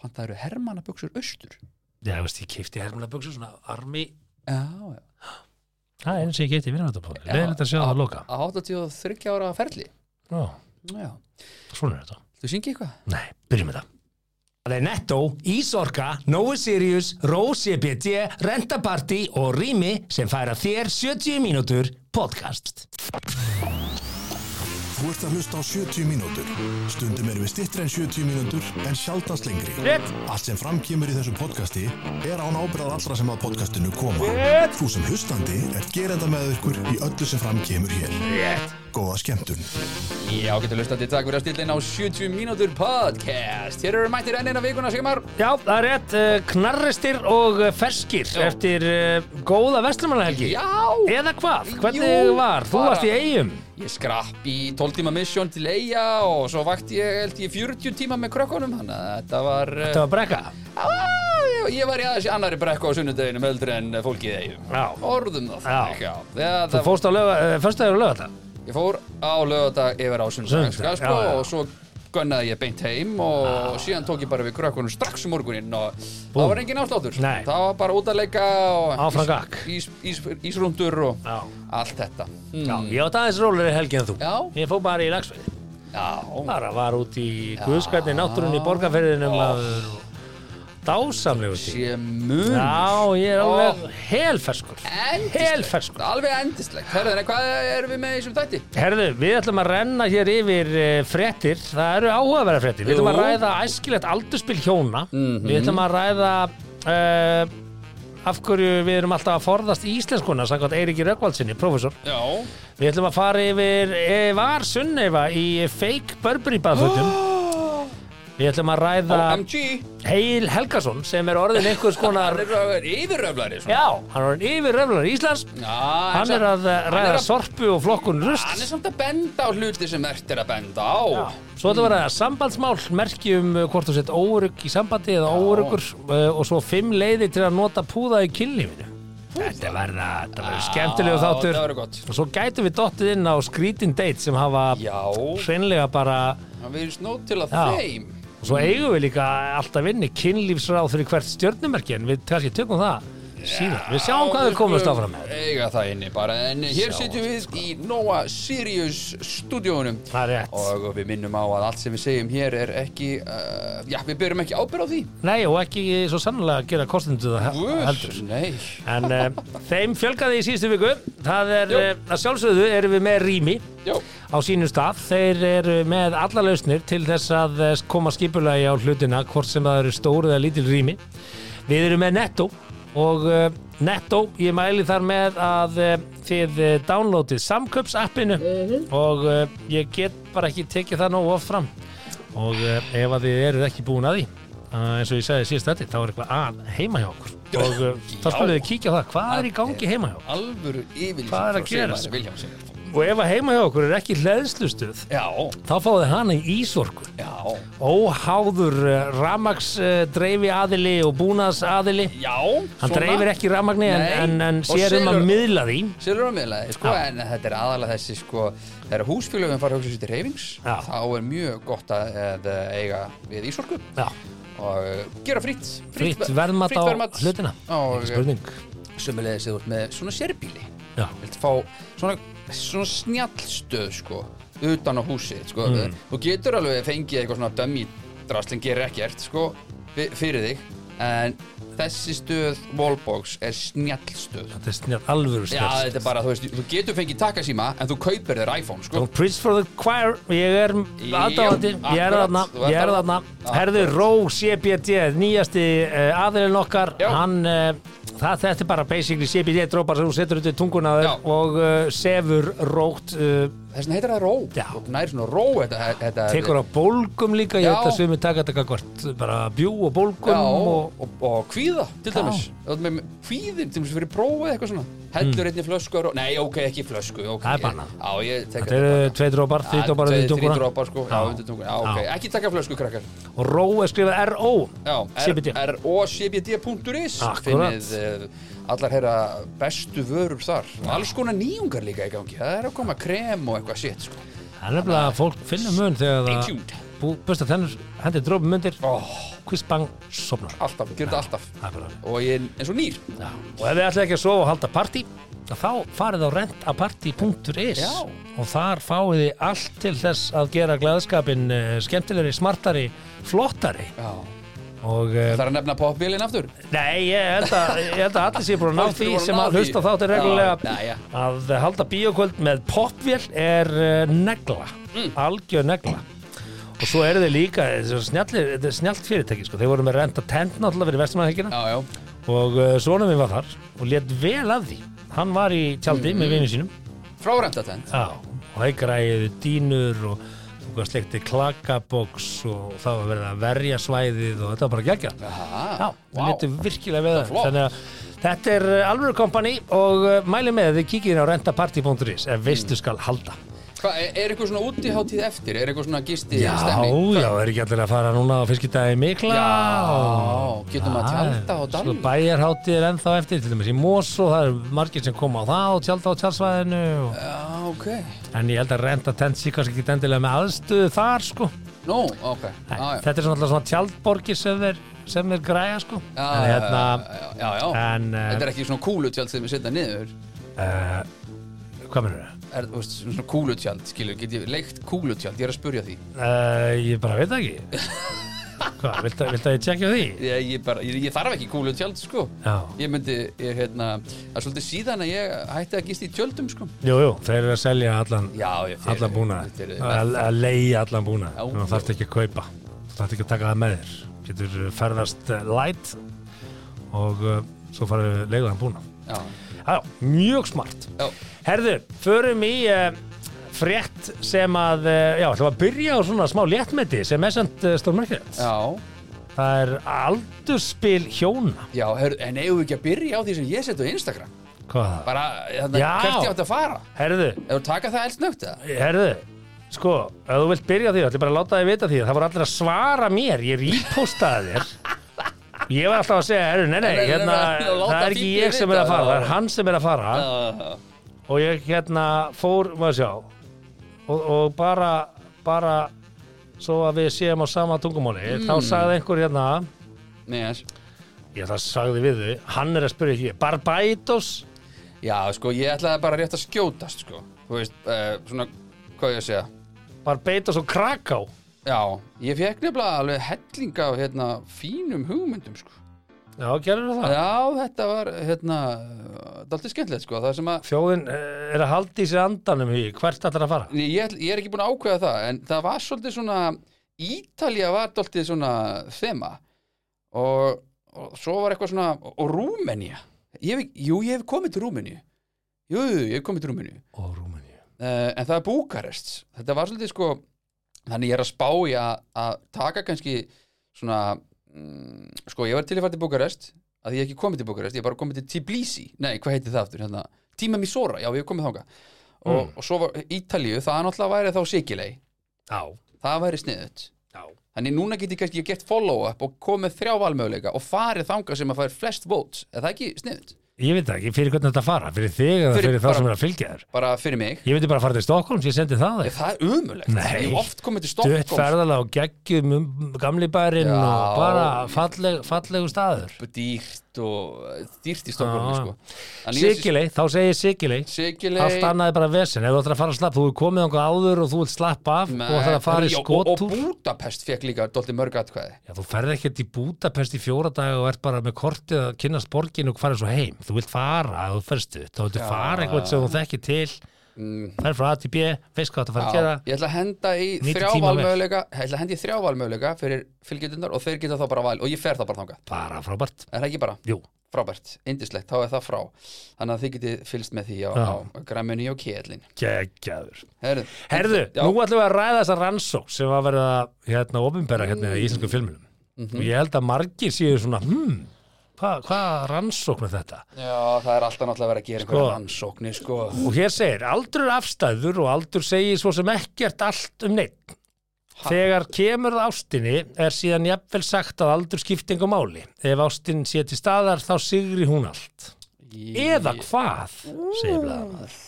pantaður hermannaböksur austur Já, þú veist, ég keipti hermlaböksu, svona armi já, já, Það er eins og ég geti vinnandatóri Já. Leðin þetta að sjá það að loka á 83 ára ferli Já, já, svona er þetta þú syngi eitthvað Nei, byrjum með það Það er Netto, Ísorka, Nói Sirius, Rós EBT, Rentaparty og Rými sem færa þér 70 mínútur podcast. Þú ert að hlusta á 70 mínútur. Stundum erum við stittri en 70 mínútur en sjaldast lengri. Rétt. Allt sem framkýmur í þessum podcasti er án ábyrðað allra sem að podcastinu koma. Rétt. Þú sem hlustandi er gerenda með ykkur í öllu sem framkýmur hér. Rétt. Góða skemmtun. já, getur lustandi, takk fyrir að stilla inn á 70 mínútur podcast hér eru mættir enn eina vikuna, Sigmar Já, það er rétt, eh, knarristir og eh, ferskir eftir eh, góða vestlumannahelgi já, Eða hvað? Hvernig Jú, var? Þú bara- varst í eigum ég skrapp í 12 tíma mission til eiga og svo vakti ég, held ég, 40 tíma með krökkunum þannig að þetta var eh, Þetta var brekka Á, ég var í aðeins í annari brekku á sunnudeginu öldri en fólkið eigum Já. orðum það þannig, já. Þegar Þú það- fórst á löga, uh, föstudagur og lögata ég fór á lögadag yfir á sunnudag Sunnudag, sko, já, já. og svo gönnaði ég beint heim og síðan tók ég bara við krökkunum strax um morguninn og það var engin ásláttur Nei. það var bara út að leika og Áfram gakk. ís, ís, ís, ísrúndur og Já. allt þetta Já, ég átt aðeins róleri helgi en þú Já. Ég fór bara í lagsveið já, Bara var út í guðskarni náttúrunni í borgarferðinum maður og dásamlegu tíma sé mun Já, ég er alveg Ó. helferskur endislegt Helferskur alveg endislegt, herðin, hvað erum við með í þessum þætti? Herðu, við ætlum að renna hér yfir eh, fréttir, það eru áhugaverða fréttir Við ætlum að Jú. ræða æskilegt aldurspil hjóna Við ætlum að ræða uh, af hverju við erum alltaf að forðast íslenskuna Sækvæmt Eiríki Röggvaldsinni, prófessor já, Við ætlum að fara yfir eh, var Sunneva í fake Burberry baðfötum Við ætlum að ræða OMG Heil Helgason sem er orðin einhvers konar Hann er yfirröflari svona. Já, hann er orðin yfir röflar Íslands Já, Hann er að eh, hann er ræða að- sorpu og flokkun Hann er rust samt að benda á hluti sem ert er að benda á Já. Svo ætlum við að ræða sambandsmál, merkjum hvort þú sett órugg í sambandi eða óruggur eh, og svo fimm leiðir til að nota púða í kynlífinu. Þetta verða, þetta verður skemmtilegu þáttur. það verður gott. Og svo gætum við dottið inn á skrítin date sem hafa Já, hreinlega bara, hann verður snót til að Já. þeim og svo eigum við líka alltaf inni kynlífsráð fyrir hvert stjörnumerki en við kannski tökum það síðan. Við sjáum hvað Já, við komumst skulum áfram með. Eiga það inni bara En hér Sjáum sitjum við í Nóa Sirius stúdíónum Það er rétt. Og við minnum á að allt sem við segjum hér er ekki uh, Já, við byrjum ekki ábyrð á því Nei, og ekki svo sannlega gera kostendu það he- Guð, heldur. Nei En uh, þeim fjölgaði í síðustu viku. Það er, Jú. uh, að sjálfsögðu erum við með rými Já, á sínum stað. Þeir eru með alla lausnir til þess að eh, koma skipulagi á hlutina, hvort sem það eru stóru eða lítil rými. Við erum með Netto og uh, Netto, ég mæli þar með að uh, þið uh, downloadið samköpsappinu og uh, ég get bara ekki tekið það nógu oft fram og uh, ef að þið eruð ekki búin að því uh, eins og ég sagði síðast þetta, þá er eitthvað að heima hjá okkur og uh, þá Já. skulum við kíkja á það, hvað er í gangi heima hjá okkur? alvöru yfirlýsing Hvað er að frá Sigmari gerast? Vilhjálmssyni. og ef að heima hjá okkur er ekki hleðslustuð Já, þá fáið þið hana í ísorku já óháður uh, ramags uh, dreifi aðili og búnaðs aðili Já, hann dreifir ekki ramagni en, Nei. en, en Og sér um að selur- miðla því Silur á miðlaði, sko, en þetta er aðalega þessi, sko, þegar húsfélögum fara að hugsa sér til reyfings, Já. þá er mjög gott að, að eh, eiga við ísorku Já, og eh, uh, gera fritt, fritt verðmat á hlutina Og ekki spurning sömulegis eða þú ert með svona sérbíli, Já. viltu fá svona, svona snjallstöð, sko, utan á húsið, sko, Mm. þú getur alveg fengið eitthvað svona dömmi drastlinn gerir ekkert, sko, fi- fyrir þig, en þessi stöð, Wallbox, er snjallstöð. þetta er snjátt alvöru Já, snjátt þetta er bara, þú veist, þú getur fengið takasíma en þú kaupir þér iPhone, sko Don't preach for the choir Ég er Jú, aðdáðandi, ég er akkurat, þarna þú ert Ég er þarna, þarna. herðu Akkurat. Ró CBD, nýjasti uh, aðilinn okkar Já. Hann, uh, það, þetta er bara basically CBD drópar sem þú setur út í tunguna á þér Já. og uh, sefur rótt uh, Þess vegna heitir það ró Já. Þú nær svona ró þetta, þetta tekur á bólgum líka, ég Já. veit að svimi taka þetta hvert, bara bjú og bólgum Já, og, og, og, kvíða, til Já. dæmis Þú ert með kvíðin, til dæmis fyrir prófið eitthvað svona Hellur einni flösku á ró Nei, ok, ekki flösku okay. Það er bannað. Já, ég tek þetta eru tvei drópar, því drópar undir Þrý tunguna drópar, sko Já, Já. undir tunguna Já, ok Já. Ekki taka flösku, krakkar og Ró er skrifað R.O. Já, CBD. rocbd.is Akkurat. Finnið uh, allar herra bestu vörur þar og Alls konar nýjungar líka í gangi Það er að koma krem og eitthvað shit, sko Það er nefnilega að fólk finnur mun þegar Stay það tuned bú, busta þennur, hendi drópum undir, oh, kvist bang, sopnar. alltaf, gerðu þetta alltaf Það er bara og ég er eins og nýr Já. Og ef þið ætlaði ekki að sofa og halda partí þá farið á rentapartí.is Já. og þar fáið þið allt til þess að gera glæðskapin uh, skemmtilegri, smartari, flottari Já. og uh, Það er að nefna popbílinn aftur nei, ég held að, ég held að allir sé búin að ná Allir því voru að sem ná að því. hlusta á þáttir Já, reglulega já, já. að halda bíoköld með popvél er uh, negla, Mm. algjör negla og svo eru þið líka snjallir, þetta er snjallt fyrirtæki sko. þeir voru með renta tent náttúrulega fyrir vestumannahekina Já, já, og uh, svona minn var þar og létt vel af því hann var í tjaldi Mm. með vinnu sínum frá remtatent Já, og það græði dýnur og þú gafst leikti klakaboks og það var verið að verja svæðið og þetta var bara geggja Já, Aha, það wow. léttu virkilega við það flott. þannig að þetta er alveg kompani og uh, mæli með að þið kíkir inn á rentaparty.is ef veistu skal halda Hva, er, er eitthvað svona útiháttíð eftir? Er eitthvað svona gisti Já, stemning? já, er ekki allir að fara núna á fiskidagi mikla Já, getum að tjalda og Sko danna bæjarháttið er ennþá eftir til dæmis í Mosó, það eru margir sem koma á það og tjálta á tjálsvæðinu og... Já, ok en ég held að renta tent sér kannski ekki endilega með aðstöðu þar sko Nú, ok Nei, Já, já. þetta er svona alltaf svona tjaldborgir sem er, sem er græja sko Já, en já, hérna já, já, já. en, eh, Þetta er ekki svona kúlutjald sem við setja niður hvað mennur það? er, þú veist, Svona kúlutjald, skilur, get ég leikt kúlutjald Ég er að spurja því Uh, ég bara veit það ekki hvað, viltu, viltu að ég tjekkja á því? Ég, ég, bara, ég, ég þarf ekki kúlutjald, sko Já, Ég myndi, ég hérna Það er svolítið síðan að ég hætti að gista í tjöldum, sko jú, jú, þeir eru að selja allan, Já, ég þeir- allan þeir búnað eru- að að leigja allan búnað Já. þannig að þarf ekki að kaupa þarf ekki að taka það með þér getur eh, ferðast eh, light og uh, svo farið leigðan búnað Já, Já, mjög smart. já, Herðu, förum í uh, frétt sem að, uh, já, ætlum að byrja á svona smá léttmeti sem er samt uh, stórmerkilegt. já. Það er aldurspil hjóna. Já, hör, en eigum við ekki að byrja á því sem ég seti á Instagram Hvað er það? bara þarna, Já. hvert ég átti að fara Herðu, ef þú taka það eldsnögt eða herðu, sko, ef þú vilt byrja á því, ætlum bara að láta þig vita því. Það voru allir að svara mér, ég rípostaði þér. Ég var alltaf að segja, herru, nei, nei, Nei, nei, nei, hérna, nei, nei, láta það er ekki fíflið ég sem er að vita, fara, það já. er hann sem er að fara. uh, og ég hérna fór, maður sjá og, og bara, bara svo að við séum á sama tungumáli Mm. þá sagði einhver hérna yes. ég það sagði við þau, hann er að spyrja ekki Barbados, Já, sko, ég ætlaði bara rétt að skjótast sko. þú veist, uh, svona hvað ég að segja Barbados og Kraká Já, ég fekk nefnilega alveg helling af hérna, fínum hugmyndum sko. já, gerður það Já, þetta var hérna, dalti skemmtilegt sko. það sem að þjóðin eh, er að halda í sér andanum í hvert ætlar að fara Nei, ég, ætl- ég er ekki búin að ákveða það en það var svolítið svona Ítalía var svolítið svona þema og, og svo var eitthvað svona og, og Rúmenía ég, hef ekki- jú, ég hef komið til Rúmeníu jú, jú, ég hef komið til Rúmeníu og Rúmeníu uh, en það er Búkarest þetta var svolítið sko þannig ég er að spá í að, að taka kannski svona mm, sko ég var til að fara til Búkarest að ég hef ekki komið til Búkarest, ég hef bara komið til Tbilisi nei, hvað heitir það aftur, hérna Tíma Misora, já ég hef komið þanga og, og svo var Ítalíu, það er náttúrulega væri þá Sikilei, já, það væri sniðut já, þannig núna get ég kannski ég gett follow up og komið þrjá valmöguleika og farið þanga sem að fær flest votes, er það ekki sniðut? ég veit það ekki fyrir hvernig þetta fara, fyrir þig eða Fyrir fyrir, þá bara- sem er að fylgja þér bara fyrir mig, ég veit bara að fara til Stokkólms, ég sendi það þig það er umulegt Nei. ég hef oft komið til Dutt Stockholm ferðalag og geggjum um gamli bærin Já. og bara falleg, fallegu staður dýrt og dýrt í Stokkólmi Já. sko. Þannig ég- Sikilei, þá segir Sikilei Sikilei Allt annað er bara vesen, ef þú ætlar að fara að slappa Þú er komið ánkuð áður og þú vilt slappa af Nei, og ætlar að fara í já, og, og skotúr Budapest fekk líka dólti mörg atkvæði Já, þú ferð ekkert í Budapest í fjóra daga og ert bara með kortið að kynnast borginu og farið svo heim, þú vilt fara ef þú ferst upp, þá viltu fara eitthvað sem þú þekkir til Mm. ferð frá A til B, veist hvað þú fara að Já, gera ég ætla að henda í Nýttu þrjá tímann vel. valmöguleika ég ætla að henda í þrjá valmöguleika fyrir fylgjendunar og þeir geta þá bara val og ég fer þá bara þangað, bara frábært, er það ekki bara jú frábært, indislegt, þá er það frá þannig að þið getið fylgst með því á, Já. á græmunni og kjellin geggjaður Herðu, Herðu, já, nú ætlum við að ræða þessa rannsók sem var verið að hérna ofinbera hérna Mm. í íslensku filminum Mhm. og ég held að margir séu svona hmm, hvað hva rannsók með þetta? já, það er alltaf náttúrulega verið að gera einhverja rannsóknir sko. Og hér segir, aldur er afstæður og aldur segir svo sem ekkert allt um neitt. Þegar kemur að ástinni er síðan jafnvel sagt að aldur skiptingu máli. Ef ástin sé til staðar þá sigri hún allt. Eða hvað, segir blæðamaður.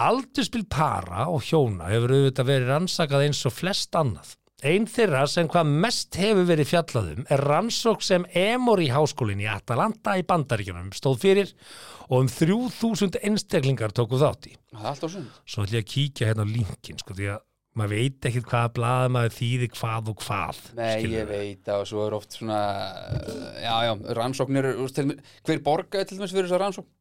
Aldurspil para og hjóna hefur auðvitað verið rannsakað eins og flest annað. Einn þeirra sem hvað mest hefur verið fjallaðum er rannsók sem E Emory háskólinn í Atalanta í Bandaríkjunum stóð fyrir og um 3000 einstaklingar tóku þátt í. Það er alltaf sund Svo ætlum ég að kíkja hérna á linkin, sko, því að maður veit ekkert hvaða blaða maður þýði hvað og hvað. Nei, skilurðu. ég veit það og svo er oft svona eh, Já, já, rannsóknir úst, til, Hver borgaði til dæmis fyrir þessa rannsókn?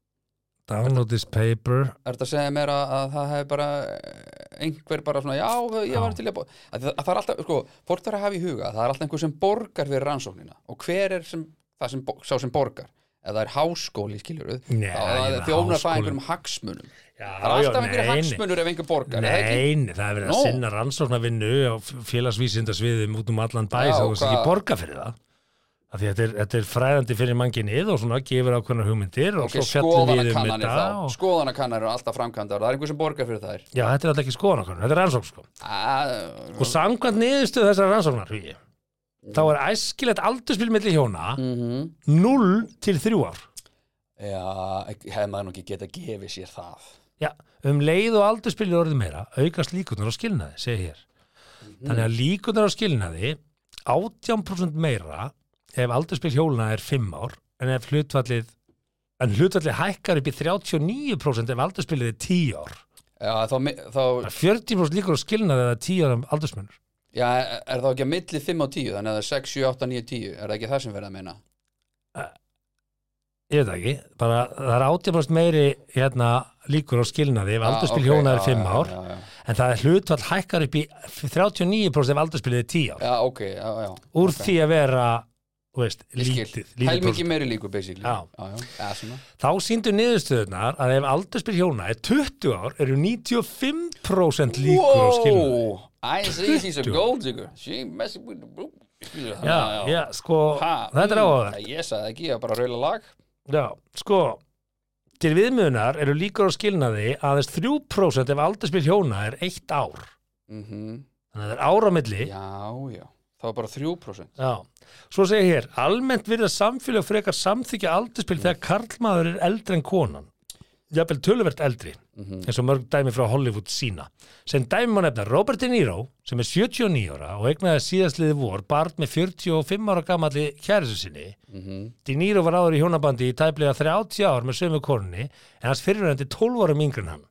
Download this paper. Er þetta að segja mér að, að það hefði bara eh, einhver bara svona, já, ég var Já. til í að, bo- að, það- að það er alltaf, sko, fólk þarf að hafa í huga að það er alltaf einhver sem borgar fyrir rannsóknina og hver er sem, það sem, bo- sá sem borgar ef það er háskóli, skiljur við Nei, ég þá meina, þjónar það háskólinn- einhverjum hagsmunum Já, það er alltaf nei, einhverjum nei. hagsmunur ef einhver borgar er það ekki? Nei, nei, það er verið að Nú. sinna rannsóknarvinnu á félagsvísindasviðum út um allan bæ Já, þá þú veist ekki hvað- borga fyrir það af því að þetta er, þetta er fræðandi fyrir manginnið og svona gefur ákveðna hugmyndir og Ok, svo fjallum við um skoðanakannanir þetta þá sko. og... skoðanakannanir eru alltaf framkvæmdar það er einhver sem borgar fyrir þær Ah, Já, þetta er alltaf ekki skoðan okkur, þetta er rannsókn sko Að- og samkvæmt niðurstöð þessar rannsóknar hugi, þá er æskilegt aldurspil milli hjóna 0 til 3 ár Já, hefði maður nú ekki getað gefið sér það Já, um leið og aldurspil er orðið meira aukast líkunar á skilnaði, segi hér Mhm. Þannig að líkunar á skilnaði 18% meira ef aldurspil hjóluna er 5 ár en ef hlutvallið en hlutvallið hækkar upp í 39% ef aldurspilið er 10 ár Já, þá, mi- þá, Það er 40% líkur á skilnaði eða 10 ára aldursmunur já, er er þá ekki að milli 5 og 10 þannig að það er 6, 7, 8, 9, 10 er það ekki það sem verða að meina? Ég veit það ekki, bara það er 18% meiri hérna, líkur á skilnaði ef aldurspil Já, Ah, ok, hjóna er já, 5 já, ár já, já. en það er hlutvall hækkar upp í 39% ef aldurspilið er 10 ár Já, ok, já, já úr ok. því að vera þú veist, lítið, lítið Helmingi prósent. meiri líkur, basically Já. já, já, já svona þá síndu niðurstöðunar að ef aldurspil hjóna er 20 ár eru 95% líkur á skilnaði Wow, I see she's a gold digger She messing with the boom já, já, sko, þetta er áhugaverð mm, Ég sagði það ekki, ég var bara að raula lag Já, sko til viðmiðunar eru líkur á skilnaði aðeins 3% ef aldurspil hjóna er eitt ár Mhm, þannig að það er áramilli já. Já, já Það var bara 3% Svo segir hér, almennt virða samfélag frekar samþykja aldurspil þegar karlmaður er eldri en konan jafnvel töluvert eldri eins og mörg dæmi frá Hollywood sína sem dæmi má nefna Robert De Niro sem er 79 ára og eignaði síðastliði vor barn með 45 ára gamalli kærisu sinni De Niro var áður í hjónabandi í tæplega 30 ár með sömu konunni en hans fyrirvændi 12 ára mingri en hann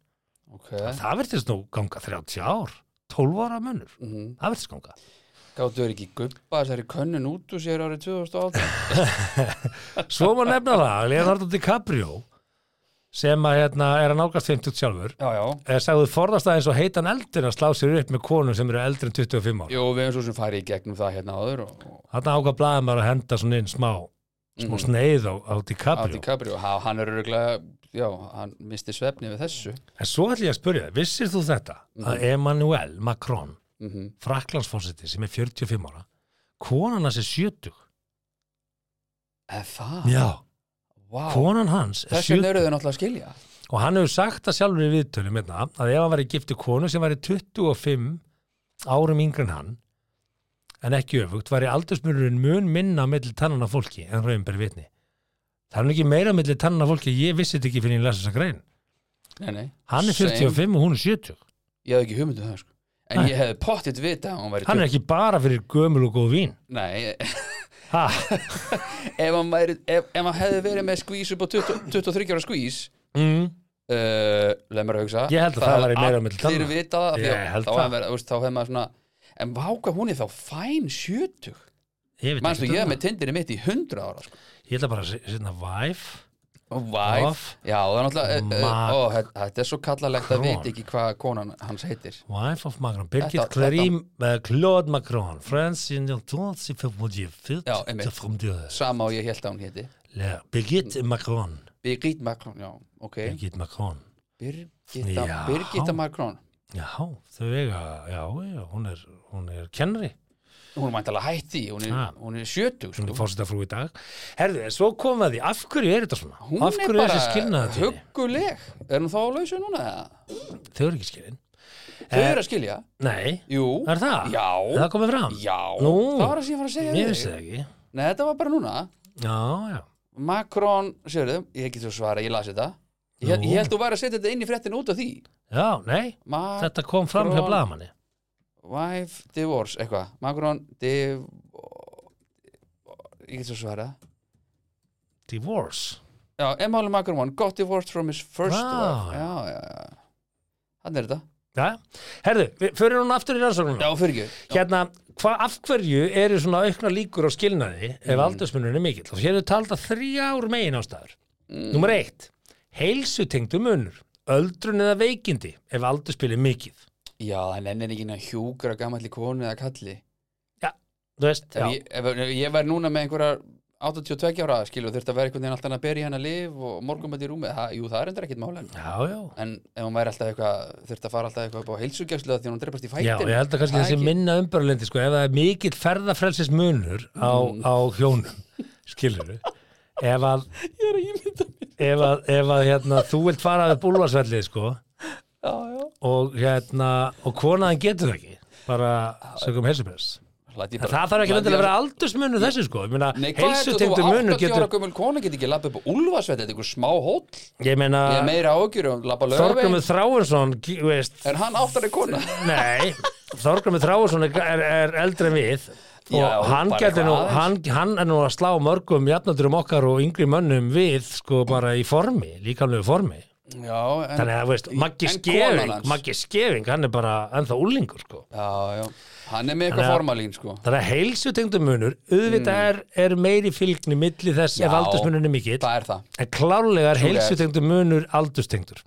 Ok það verðist nú ganga 30 ár 12 ára munnur, það verðist ganga Gáttu verið ekki guppa þessari könnun út úr sér árið 2008 svo má nefna það, Leonardo DiCaprio sem að hérna er að nálgast 50 sjálfur Já, já er sagðuð forðast aðeins og heitan eldin að slá sér upp með konum sem eru eldri en 25 ára Jú, við erum svo sem farið í gegnum það hérna áður og, og Þarna ákvað blaðið maður að henda svona inn smá smá Mm. sneið á, á DiCaprio Adi Cabrio, hann er örgulega já, hann misti svefni við þessu en svo ætlum ég að spyrja, þig, vissir þú þetta að Emmanuel Macron mm fraklandsfósiti sem er 45 ára konan hans er 70 Eða það? já, Vá, konan hans er þess vegna 70 eru þau náttúrulega að skilja og hann hefur sagt það sjálfur í viðtölum einna, að ef hann væri gifti konu sem væri 25 árum yngri en hann en ekki öfugt, væri aldursmururinn mun minna mellir tannana fólki en raun beri vitni það er nú ekki meira mellir tannana fólki ég vissi þetta ekki fyrir en ég lasa þessa grein Nei, nei hann er Same. 45 og hún er 70 Ég hafði ekki hugmyndu það sko En Nei. ég hefði pottitt vita að hún væri hann er tuttugu- ekki bara fyrir gömul og góð vín Nei, ha, ef hann, væri, ef, ef hann hefði verið með skvís upp á 20 23 ára skvís mm, uh, leið mér að hugsa Ég held að það væri meira á milli allir tanna. vita það því að Ég held þá það. hefði verið- þú veist, þá hefði maður svona en váka hún er þá fæn 70 ég veit mannstu ekki ég er með tindinni mitt í 100 ára sko. ég ætla bara að se- setna wife og væf Of. já það er náttúrulega uh, Mag- uh, ó, þetta- þetta er svo kallalegt að Kron. veit ekki hvað konan hans heitir wife of Macron Birgit Þetta- Clarim uh, Claude Macron France in your thoughts if it would you fit Já, einmitt. to from the earth. sama og ég held að hún heiti Le- Birgit Mm. Macron Birgit Macron já ok Birgit Macron Birgitta, Já. Birgitta Macron já, þau eiga já, já, hún er, hún er kennari hún er mæntalega hætti hún er, Ah. hún er 70 hún sko. er fórsetafrú í dag herðu, en svo komum við að því, af hverju er þetta svona hún af er hverju er þessi bara skilnaðatíð hugguleg er hún þá á lausu núna eða? þau eru ekki skilin Eh. þau eru að skilja nei, jú er það? já það komið fram? Já, Nú. það var það sem ég var að segja ég þér. vissi það ekki Nei, þetta var bara núna já, já Macron, sérðu, ég get svo svara, ég las þetta Ég, Nú. ég held þú væri að setja þetta inn í fréttin út af því Já, nei, Macron þetta kom fram hjá blaðamanni wife divorce, eitthvað Macron div ég get svo svara Divorce já, Emmanuel Macron got divorced from his first Vá. wife já, já, já hann er þetta, ja. Herðu, við fyrir hún aftur í rannsóknum já, fyrir ekki Hérna, hva, af hverju eru svona aukna líkur á skilnaði ef mm. aldursmunurinn er mikill? Og hér eru talda þrjár megin ástæður mm. Númer eitt, heilsutengdu munur öldrun eða veikindi ef aldurspil er mikið já, hann ennir ekki að hjúkra gamalli konu eða kalli Þú veist, ef ég, ef, ef ég væri núna með einhverjar 82 ára skilu þurfti að vera einhvern veginn alltaf að berja hennar lif og morgum í rúmi, það, jú það er endur ekkit mála já, já en ef hún væri alltaf eitthvað þurfti að fara alltaf eitthvað upp á heilsugjæslu því hún drefast í Já, fætin ég held að kannski Það er þessi ekki- minna umbörlendi sko, ef það er mikill ferðafrelsis munur á, Mm. á hjónum skilur ef að, ef að, ef að hérna, þú vilt fara við búlvarsvellið sko, já, já. og, hérna, og konaðan getur það ekki bara sögum helsupress Læt ég En bara- það þarf Læt ekki ég- endilega að vera aldursmunur þessu sko, ég meina Nei, hvað heldur þú heilsutengdu að munur 80 ára getur, gömul kona get ekki lappa upp á Úlfarsveit þetta er einhver smá hóll ég meina ég er meira ágjur um lappa lögveit Þorgrumur Þráinsson, g- veist, er hann áttari kona Nei, Þorgrumur Þráðsson er, er, er eldri en við og Já, hann, bara gæti eitthvað nú, aðeins. hann, hann er nú að slá mörgum jafnöldurum okkar og yngri mönnum við sko bara í formi, líkamlegu formi já, en, þannig að þú veist, Maggi en konan Skefing hans? Maggi Skefing, hann er bara ennþá úlingur sko já, já, hann er með Þannig eitthvað að- formalín sko þannig að heilsutengdu munur auðvitað er, er meiri fylgni milli þess Mm. Já, ef aldursmunun er mikill það er það en klárlega er True that. heilsutengdu munur aldurstengdur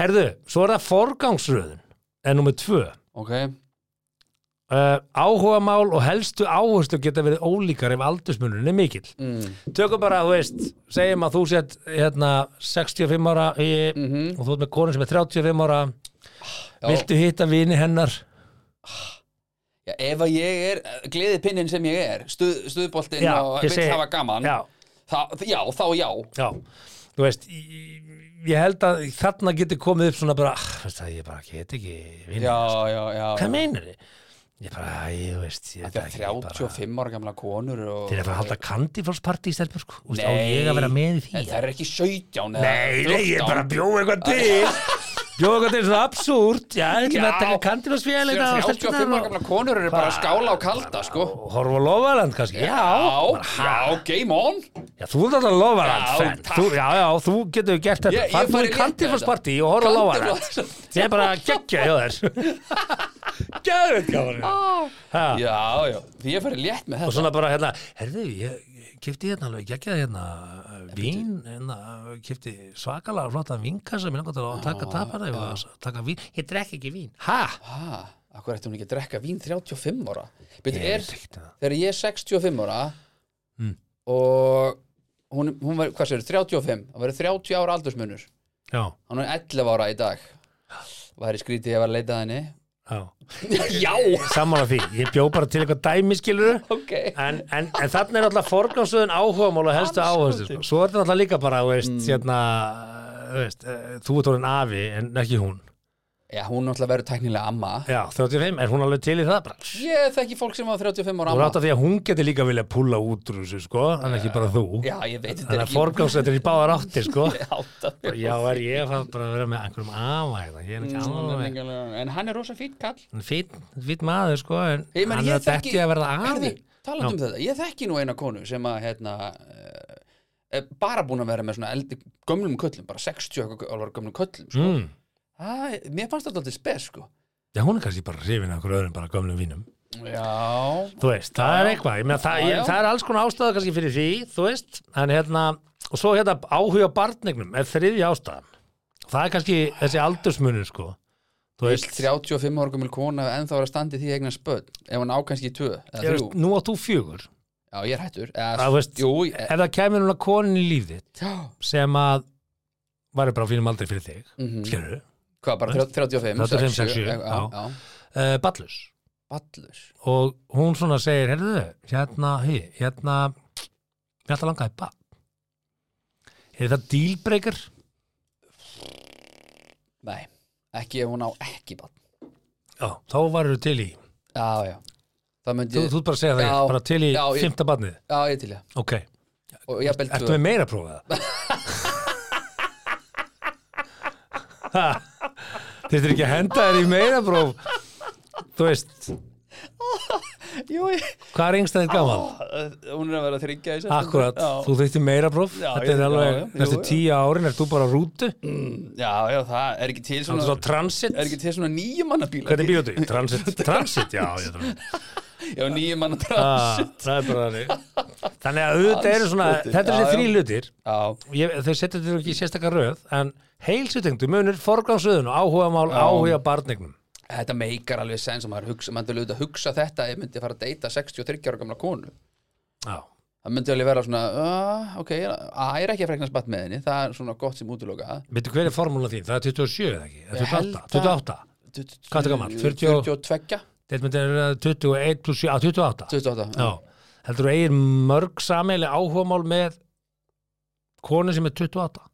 Herðu, svo er það forgangsröðun en nummer tvö ok, Uh, áhugamál og helstu áherslu geta verið ólíkar ef aldursmunurinn er mikill mm. tökum bara, þú veist, segjum að þú sett hérna 65 ára í, Mhm. og þú ert með konu sem er 35 ára Já. viltu hitta vini hennar já, ef að ég er eh, gleðipinnin sem ég er stuð, stuðboltinn Já, og ég vill segi- hafa gaman já, það, já, þá já já, þú veist í- ég held að þarna geti komið upp svona bara, ah, veist það, ég bara get ekki vini, já, já, já, hvað já. meinar þið? ég bara, æ, þú veist ég veit Það er ekki, ég 35 ára gamla konur og... til að fara að halda kandifálsparti í stelpur sko, Þú veist, á Nei. ég að vera með í því En Það er ekki 17 eða Nei, nei, 14. ég bara bjóð eitthvað til Bjóð eitthvað til svona absúrt Já, ég ætlum að Já. taka kandilvarsfél Þegar 35 ára gamla konur eru bara að skála og kalda sko. Horfa á lofaland kannski Já, já, já, game on já þú ert alltaf lofaland Já, fan. takk. Þú, Já, já, þú getur gert þetta Ég- ég Farð þú fari í rétt með kandilvarsparti og horfa á lofaland Kandiflans- Ég er bara að geggja hjá þér Geðveit gaman Ha. Já, já, því ég færi létt með Og þetta svona bara hérna, herðu, ég kipti hérna alveg geggjaði hérna uh, vín, hérna, uh, kipti svakalega flotta vinkassa, mér langar til að taka tapara og að taka vín, ég drekk ekki vín. Ha? Hæ, akkur ætti hún ekki að drekka vín 35 ára Byrðu, Ég er, veit ekkert það. þegar ég er 65 ára Hmm. og hún, hún var, hvað sér, 35 það verið 30 ára aldursmunur Já, hann er 11 ára í dag væri skrítið ef að leita að henni já. Já, Saman að því, ég bjó bara til eitthvað dæmi, skilur ok En, en, en þannig er alltaf forgangsöðun áhugamál og helstu áherslu sko. Svo er þetta alltaf líka bara, þú veist, hérna, þú veist, eh, þú ert orðin afi en ekki hún. Já, hún náttúrulega verður tæknilega amma Já, 35, er hún alveg til í það bara? Ég þekki fólk sem var 35 ára Þú rátt amma að því að hún geti líka vilja púla út úr þessu sko, en ekki bara þú. Já, ég veit þetta Þannig er að ekki forgámsættir í báðar átti sko. átta Já, er ég að fara bara að vera með einhverjum afa hérna, ég er Mm, ekki alveg En hann er rosa fýtt kall fýtt, fýtt maður sko, en Ég meina, hann ég er þekki- detti að verða afi. Herðu, talandi um þetta, ég þekki nú eina konu sem að hérna, eh, er bara búin að vera með svona eldi, gömlum köllum, bara 60 eitthvað ára gömlum köllum sko. Mm. Æ, Mér fannst þetta alltaf spes sko. Já, hún er kannski bara hrifin af einhverju öðrum, bara gömlum vínum. Já, Þú veist, það er eitthvað, ég meina, það, Já, ég, já. það er alls konar ástæða kannski fyrir því, þú veist, en hérna, og svo hérna áhuga barnignum er þriðja ástæðan. Það er kannski þessi aldursmunur sko. Þú vill veist, 35 ára gömul kona en þá er að standi því eignan spöld ef hann á kannski tvö eða ég þrjú veist, nú átt þú fjögur. Já, ég er hættur Það, eða, veist, Jú, ég, eh, ef það kemur núna konin í líf þitt já, sem að væri bara á fínum aldrei fyrir þig mm Mhm. skilur, hvað bara 35, 35, 60, 60, já, já, já. uh, ballus Ballus og hún svona segir, heyrðu hérna, hei, hérna við ætla að langa í ball er það dealbreaker? Nei, ekki ef hún á ekki ball Já, þá varir þú til í Já, já Það myndi þú, þú ert bara að segja það, Já, bara til í já, ég- fymta barnið, Já, ég til ég ok Og ég bel ertu tvö með meira að prófa það? Þið er ekki að henda þér í meira próf þú veist, Jú, ég... hvað er yngstæðið gaman? Hún er að vera þryggja í september. Akkurat, Já. þú þurfti meira próf Já, Þetta ég- er alveg, já, já, jú, næstu já. tíu árin er þú bara á rútu Já, já, það er ekki til Svona svona svo transit Er ekki til svona nýjum manna bíla Hvernig býðu þetta? Transit, transit, já ég trúi. Já, nýjum manna Ah, transit Það er bara þannig Þannig að auðvitað eru svona, Transit, þetta er já, þessi þrý já. hlutir Já, ég, Þau setja þetta ekki í sérstakar röð En heilsutengdu munur forgangsröðun og áhuga mál, Já. áhuga barnignum þetta meikar alveg sens og maður hugsa, maður myndi að hugsa þetta ef ég myndi fara að deyta 63 ára gamla konu Já, það myndi alveg vera svona uh, ok, að ég er ekki að frekna spatt með henni það er svona gott sem útiloka veitu hver er formúla þín? Það er 27 eða ekki? Eða Ég held 28, að- 28 Hvað ertu gamall? 40 og- 42? Þetta myndi að vera 21 plus 7, á 28 28 Já, heldur þú eigir mörg sameiginlega áhugamál með konu sem er 28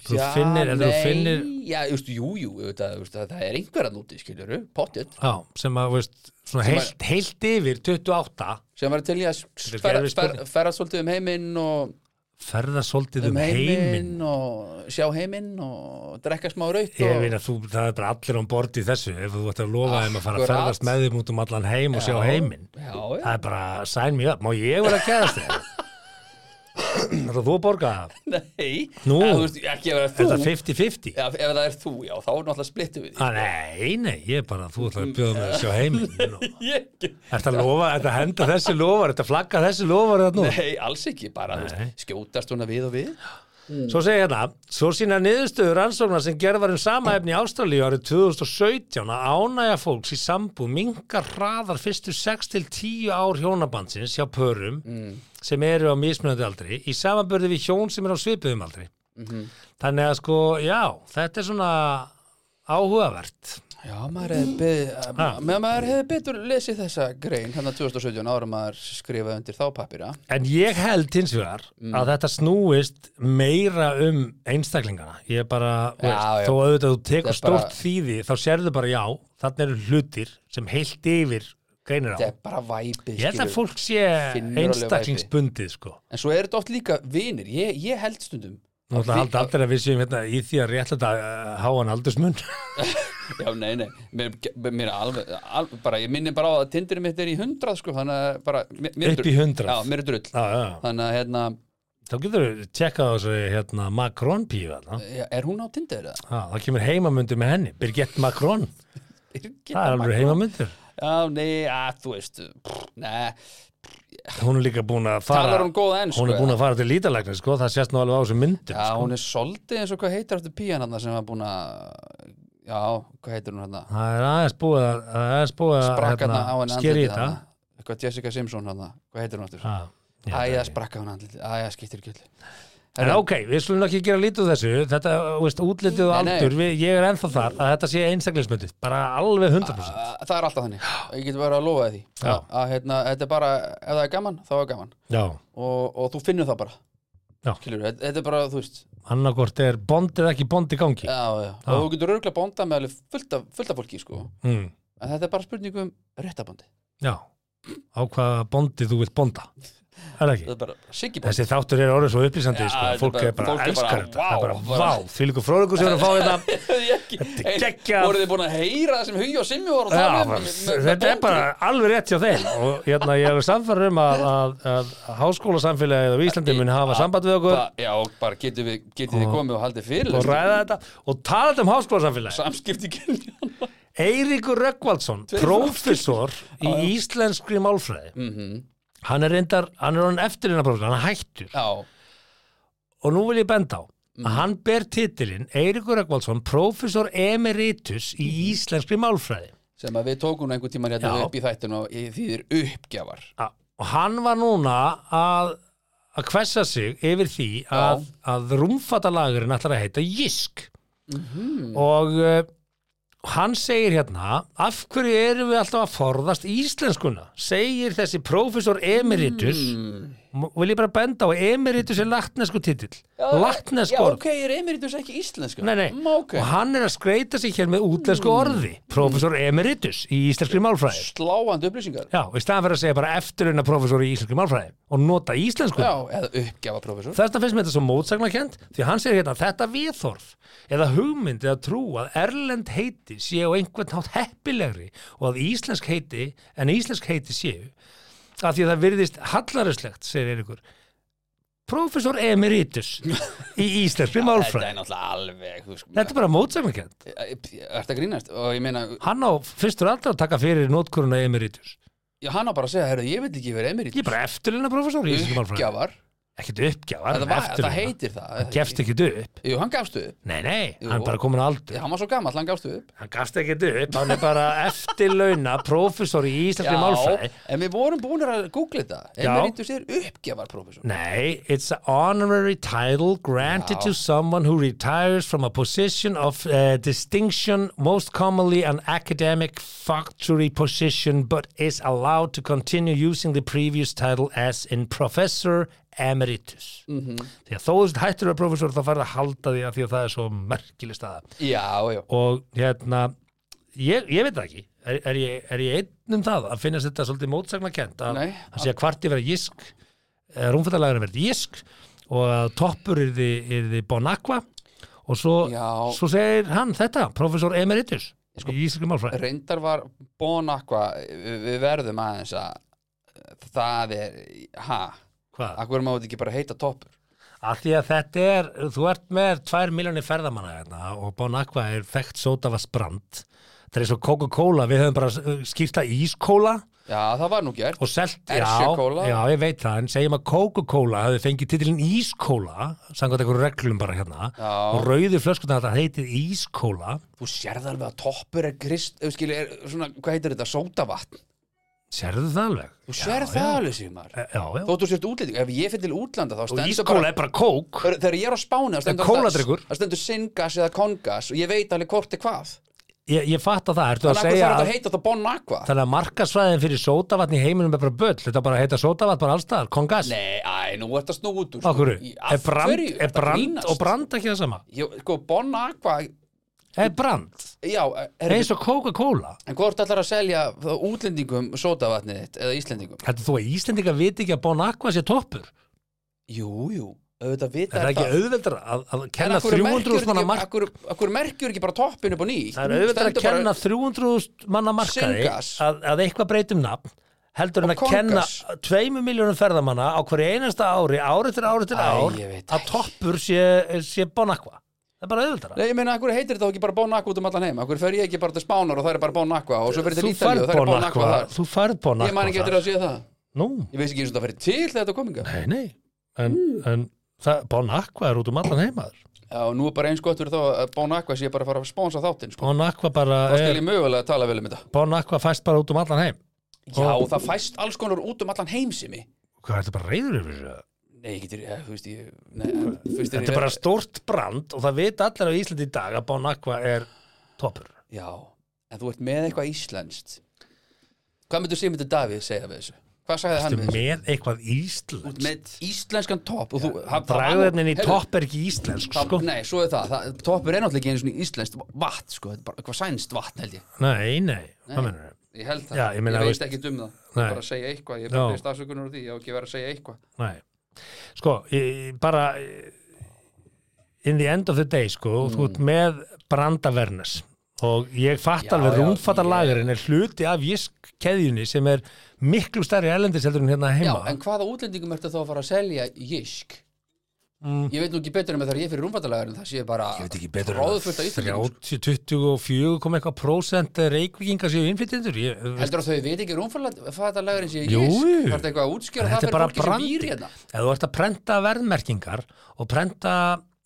Þú Já, finnir- ef þú nei, finnir- já, just, jú, jú, auðvitað, auðvitað, það er einhverja núti, skiljuru, pottet Já, sem að, veist, svona Sem að- heilt, heilt yfir 28 sem var til í að Þetta er ferða gerfið fer, spurning. fer, svolítið um heiminn og ferða svolítið um um heiminn heiminn og sjá heiminn og drekka smá raut Ég og veit að þú, það er bara allir án borð í þessu ef þú ætti að lofa þeim að fara að Akkurat. ferðast með þeim út um allan heim og sjá Já, heiminn já, já. Það er bara, sæn mjög, má ég vera að geðast þér? Það þú að borga það? Nei, Nú. en, þú veist, ekki ef Er það það er þú 50-50? Já, ef það er þú, já, þá er náttúrulega splittum við því Ah, nei, nei, ég er bara, þú ætlar Mm. að bjóða mig að sjá heiminn Ah. og Ég, Er þetta lofa, er þetta henda þessi lofar, er þetta flagga þessi lofar þetta nú? nei, alls ekki, bara þú veist, skjótast svona við og við Svo segir hérna, svo sína niðurstöður rannsóknar sem gerð var um sama efni í Ástralíu árið 2017 að ánægja fólks í sambúð mingar hraðar fyrstu 6 til 10 ár hjónabandsins hjá pörum sem eru á mismunandi aldri í samanbörði við hjón sem eru á svipuðum aldri. Þannig að sko, já, þetta er svona áhugavert. Já, maður hefði beð, Ha. með maður hefði betur lesið þessa grein hérna 2017 ára maður skrifaði undir þá pappira En ég held hins vegar Mm. að þetta snúist meira um einstaklingana. Ég bara, þú Já, já. veist, þó auðvitað þú tekur Þetta er bara- stórt þýði, þá sérðu bara já, þarna eru hlutir sem heilt yfir greinir á. Þetta er bara væpið Ég held að skilur. fólk sé finnur alveg einstaklingsbundið, sko. En svo er þetta oft líka vinir, ég, ég held stundum Nú ætla að halda allir að við séum hérna í því að rétt þetta háan aldursmun. Já, nei, nei, mér, mér er alveg, alveg bara, ég minni bara á að tindirinn mitt er í hundrað sko, þannig að bara mér, mér er Upp drull. í 100. Já, mér er drull Já, já. Þannig að hérna, Þá getur þú tjekkað á þessu hérna Macron píu þarna. já, er hún á tindir eða? Já, Það kemur heimamundur með henni, Birgette Macron. Það er alveg heimamundur. Já, nei, að, þú veist pff, Nei, Hún er líka búin að fara... talar um hún góða enn Hún er búin að fara til lítalæknir, sko, það sést nú alveg á þessum myndum. Já, hún er soldið eins og hvað heitir eftir píjan hann sem var búin að Já, hvað heitir hún hann? Það er aðeins búið að, það er aðeins búið að Sprakk hann á henni skeri í andlitið þetta. þarna. Eitthvað Jessica Simpson hann Hvað heitir hún aftur? Ha, ég veit Æja, ekki. sprakka hann andlitið Æja, skiptir ekki öllu En ok, við slum ekki gera lítið úr þessu, þetta, þú veist, útlitið og Nei, nei. aldur, við, ég er ennþá þar að þetta sé einstaklingsmyndið, bara alveg 100%. Það er alltaf þannig, ég get bara að lofa þér því Já. að, að hérna, þetta er bara, ef það er gaman, þá er gaman Já, og, og þú finnur það bara Já. Skilur, þetta, þetta er bara, þú veist Já, annarkort er bond eða ekki bond í gangi. já, og þú getur örgulega bónda með alveg fullt af, fullt af fólki, sko Mm, en þetta er bara spurning um réttabandi já, á hvaða bondi þú vilt bonda, er það þetta ekki? er bara Siggi bóndi Þessi þáttur er orðið svo upplýsandi, Já, sko, þetta er fólk bara- er bara fólk er bara, elskar þetta, það er vá, bara bara- vá, því líka fróðugur sem er að fá hérna. þetta. Þetta er geggjað. Voruð þið búin að heyra það sem Hugi og Simmi voru að Já, tala um? bara, með- með þetta er bóndum? bara alveg rétt hjá þeim og hérna, ég er samfæður um að, að, að háskólasamfélagið á Íslandi mun hafa samband við okkur Ba- Já, og bara getið við, getið þið komið og haldið fyrir og ræða þetta og tala þetta um háskólasamfélagið Samskipti kynjana Eiríkur Röggvaldsson, prófessor í íslenskri málfræði hann er reyndar, hann er hann eftirlinna prófessor, hann er hættur Mhm. Já, Mhm. og nú vil ég benda á að hann ber titilinn Eiríkur Röggvaldsson, prófessor emeritus í Mhm. íslenskri málfræði sem að við tókum einhvern tímann hérna Já. upp í þættinu og í- þýðir uppgjafar A- og hann var núna að að hvessa sig yfir því að, að rúmfatalagurinn ætlar að heita Jisk Mhm. og uh, hann segir hérna af hverju Mm. erum við alltaf að forðast íslenskuna segir þessi prófessor emeritus M- vil ég bara benda á að Emeritus er latnesku titill Já, latnesku orð ok, er Emeritus ekki íslensku? nei, nei. Mm, ok. Mm. og hann er að skreita sig hér með útlensku orði professor Emeritus í íslenskri málfræði Sláandi upplýsingar. já, og í staðan fyrir að segja bara eftirlauna professor í íslenskri málfræði og nota íslensku Já, eða uppgjafa professor. Þess vegna finnst mér þetta svo mótsagnakent því hann segir hérna þetta viðhorf eða hugmynd eða trú að erlend heiti séu á einhvern nátt heppilegri og að íslensk heiti en íslensk heiti séu af því að það virðist hallaruslegt, segir Eiríkur Professor Emeritus í íslenskri Þetta málfræði er náttúrulega alveg, þú e, sko. Þetta er bara mótsagnakent Þetta grínast og ég meina, Hann á fyrstur aldrei að taka fyrir nótkuruna Emeritus já, hann á bara að segja, herru, ég vil ekki vera Ég Emeritus. er bara eftirlina professor í íslenskri málfræði Uppgjafar. Ekkert uppgjafar, Það, var, það eftirlina heitir það. Gefst ekki upp Jú, hann gafst upp. Nei, nei, Jú. hann er bara komin á aldur Já, hann var svo gammal, hann gafst upp. hann gafst ekki upp, hann er bara eftirlauna prófessor í íslenskri málfræði en við vorum búin að googla þetta Já. Emeritus er uppgjafar professor Nei, it's an honorary title granted Já. to someone who retires from a position of uh, distinction, most commonly an academic factory position, but is allowed to continue using the previous title as in professor emeritus. Mm Mhm. -hmm. Því að þó þú sért hættur að vera prófessor þá farið að halda því að því að það er svo merkileg staða. Já, já, og hérna ég, ég veit það ekki er, er, ég, er ég einn um það að finnast þetta svolítið mótsagnakent að Nei. hann sé að kvarti verið jísk rúmfættalagurinn verið jísk og að toppur er þið bonakva og svo, Já. svo segir hann þetta, professor Emeritus Sko- í íslenskri málfræði reyndar var Bon Aqua við við verðum aðeins að það er, ha Hvað? akkur má þetta ekki bara heita toppur Af því að þetta er, þú ert með 2 miljónir ferðamanna hérna og bonakva er þekkt sótavasbrand þetta er eins og Coca-Cola, við höfum bara skýrta ískóla Já, það var nú gert og selt, Ersikóla. já, já, ég veit það en segjum að Coca-Cola hafði fengið titilin Ískóla, samkvæmt einhverjum reglum bara hérna, Já. og rauði flöskunar þetta heitið Ískóla Þú sérð alveg að toppur er krist ef skilur, er svona, hvað heitir þetta, sótavatn sérðu það alveg? Þú sérð það alveg símar E- Já, já, Þóttu sért útlending, ef ég finn til útlanda þá og stendur Ískóla bara er bara kók Þegar- Þegar ég er á Spáni, það stendur kóladrykkur. alltaf- það stendur syngas eða kongas og ég veit alveg hvort er hvað ég, ég fatt að það, ertu að Þannig að hvað segja þarf þetta að að heita þetta Bon Aqua? þannig að markasvæðin fyrir sótavatn í heiminum er bara böll, þetta bara heita sótavatn bara allstaðar, kongas, Nei, æ, nú ert að snú út úr sko. á hverju? Í- af Er brand, hverju? er Þetta brand grínast. og brand ekki það sama? Jú, Sko, Bon Aqua, Er brand, já er, eins og Coca-Cola En hvort ætlar að selja þá útlendingum sótavatnið þitt eða Íslendingum? Þetta þú að Íslendinga viti ekki að Bon Aqua sé toppur? Jú, jú, auðvitað vita Er það ekki auðveldar að, að kenna 300 manna mark Akkur, akkur merkjur ekki bara toppin upp á ný Það er auðveldar að Stendur bara- kenna 300 manna markaði Syngas. að, að eitthvað breytum nafn heldur en Og að kenna Kongas. 2 miljónum ferðamanna á hverju einasta ári, ári til ári til Æ, ár ég veit að ekki. toppur sé, sé Bon Aqua Það er bara auðveldara Nei, ég meina, akkur heitir þetta ekki bara Bon Aqua út um allan heim Akkur fer ég ekki bara til Spánar og það er bara Bon Aqua og svo fer ég til Þú Ítalíu færð og það er Bon Bon Aqua Aqua þar Þú færð Ég Bon man Aqua ekki eftir þar að sé það Nú, Ég veist ekki eins og það fer til þegar þetta kominga nei, nei En, Hmm. en það, Bon Aqua er út um allan heimaður Já, og nú er bara eins gott fyrir þá að Bon Aqua sé bara að fara að sponsa þáttinn sko. Bon Aqua bara Þá skal er, ég mögulega tala vel um þetta Bon Aqua fæst bara út um allan heim Já, það fæst alls konar út um allan heimsimi Hvað er þetta bara reyður yfir þessu? Nei, ég getur, ég, þú veist ég nei, þú veist, Þetta er bara stórt brand og það veit allir á Íslandi í dag að Bon Aqua er toppur. Já, en þú ert með eitthvað íslenskt Hvað myndir Sigmundur Davíð segja við þessu? Hvað sagði hann Þetta við er þessu? með eitthvað Ísland. Út með íslenskan topp og þú hann- Dragðurnin í Heyrðu, topp er ekki íslensk, það- sko. Nei, svo er það, það toppur er náttúrulega ekki einu svona íslenskt vatn sko, þetta er bara eitthvað sænst vatn held ég Nei, nei, hvað mennur það? Ég held það, Já, ég meina, veit veist- ekki um það Ég Nei. er bara að segja eitthvað, ég er Já. bara að stafsökunar úr því Ég á ekki að vera að segja eitthvað Nei. Sko, ég, bara eh, in the end of the day, sko, Mm. þú ert með brandavernes og ég fatt Já, alveg já, rúmfattalagurinn er hluti af jisk-keðjunni sem er miklu stærri erlendis heldur en hérna Já, heima. en hvaða útlendingum ertu þá að fara að selja jisk? Ég veit nú ekki betur en með þegar ég er fyrir rúmfattalagur en það sé bara Mm. Ég veit ekki betur en að ráðfullt að Íslandingum 30, 24 kom eitthvað prósent reykvíkinga séu innflytjendur ég, Heldur að þau veit ekki rúmfattalagur en sé Jú, jisk? jú. Það er eitthvað að útskjöra það þetta er fyrir bara fólki sem brandi býr hérna ef þú ert að prenta verðmerkingar og prenta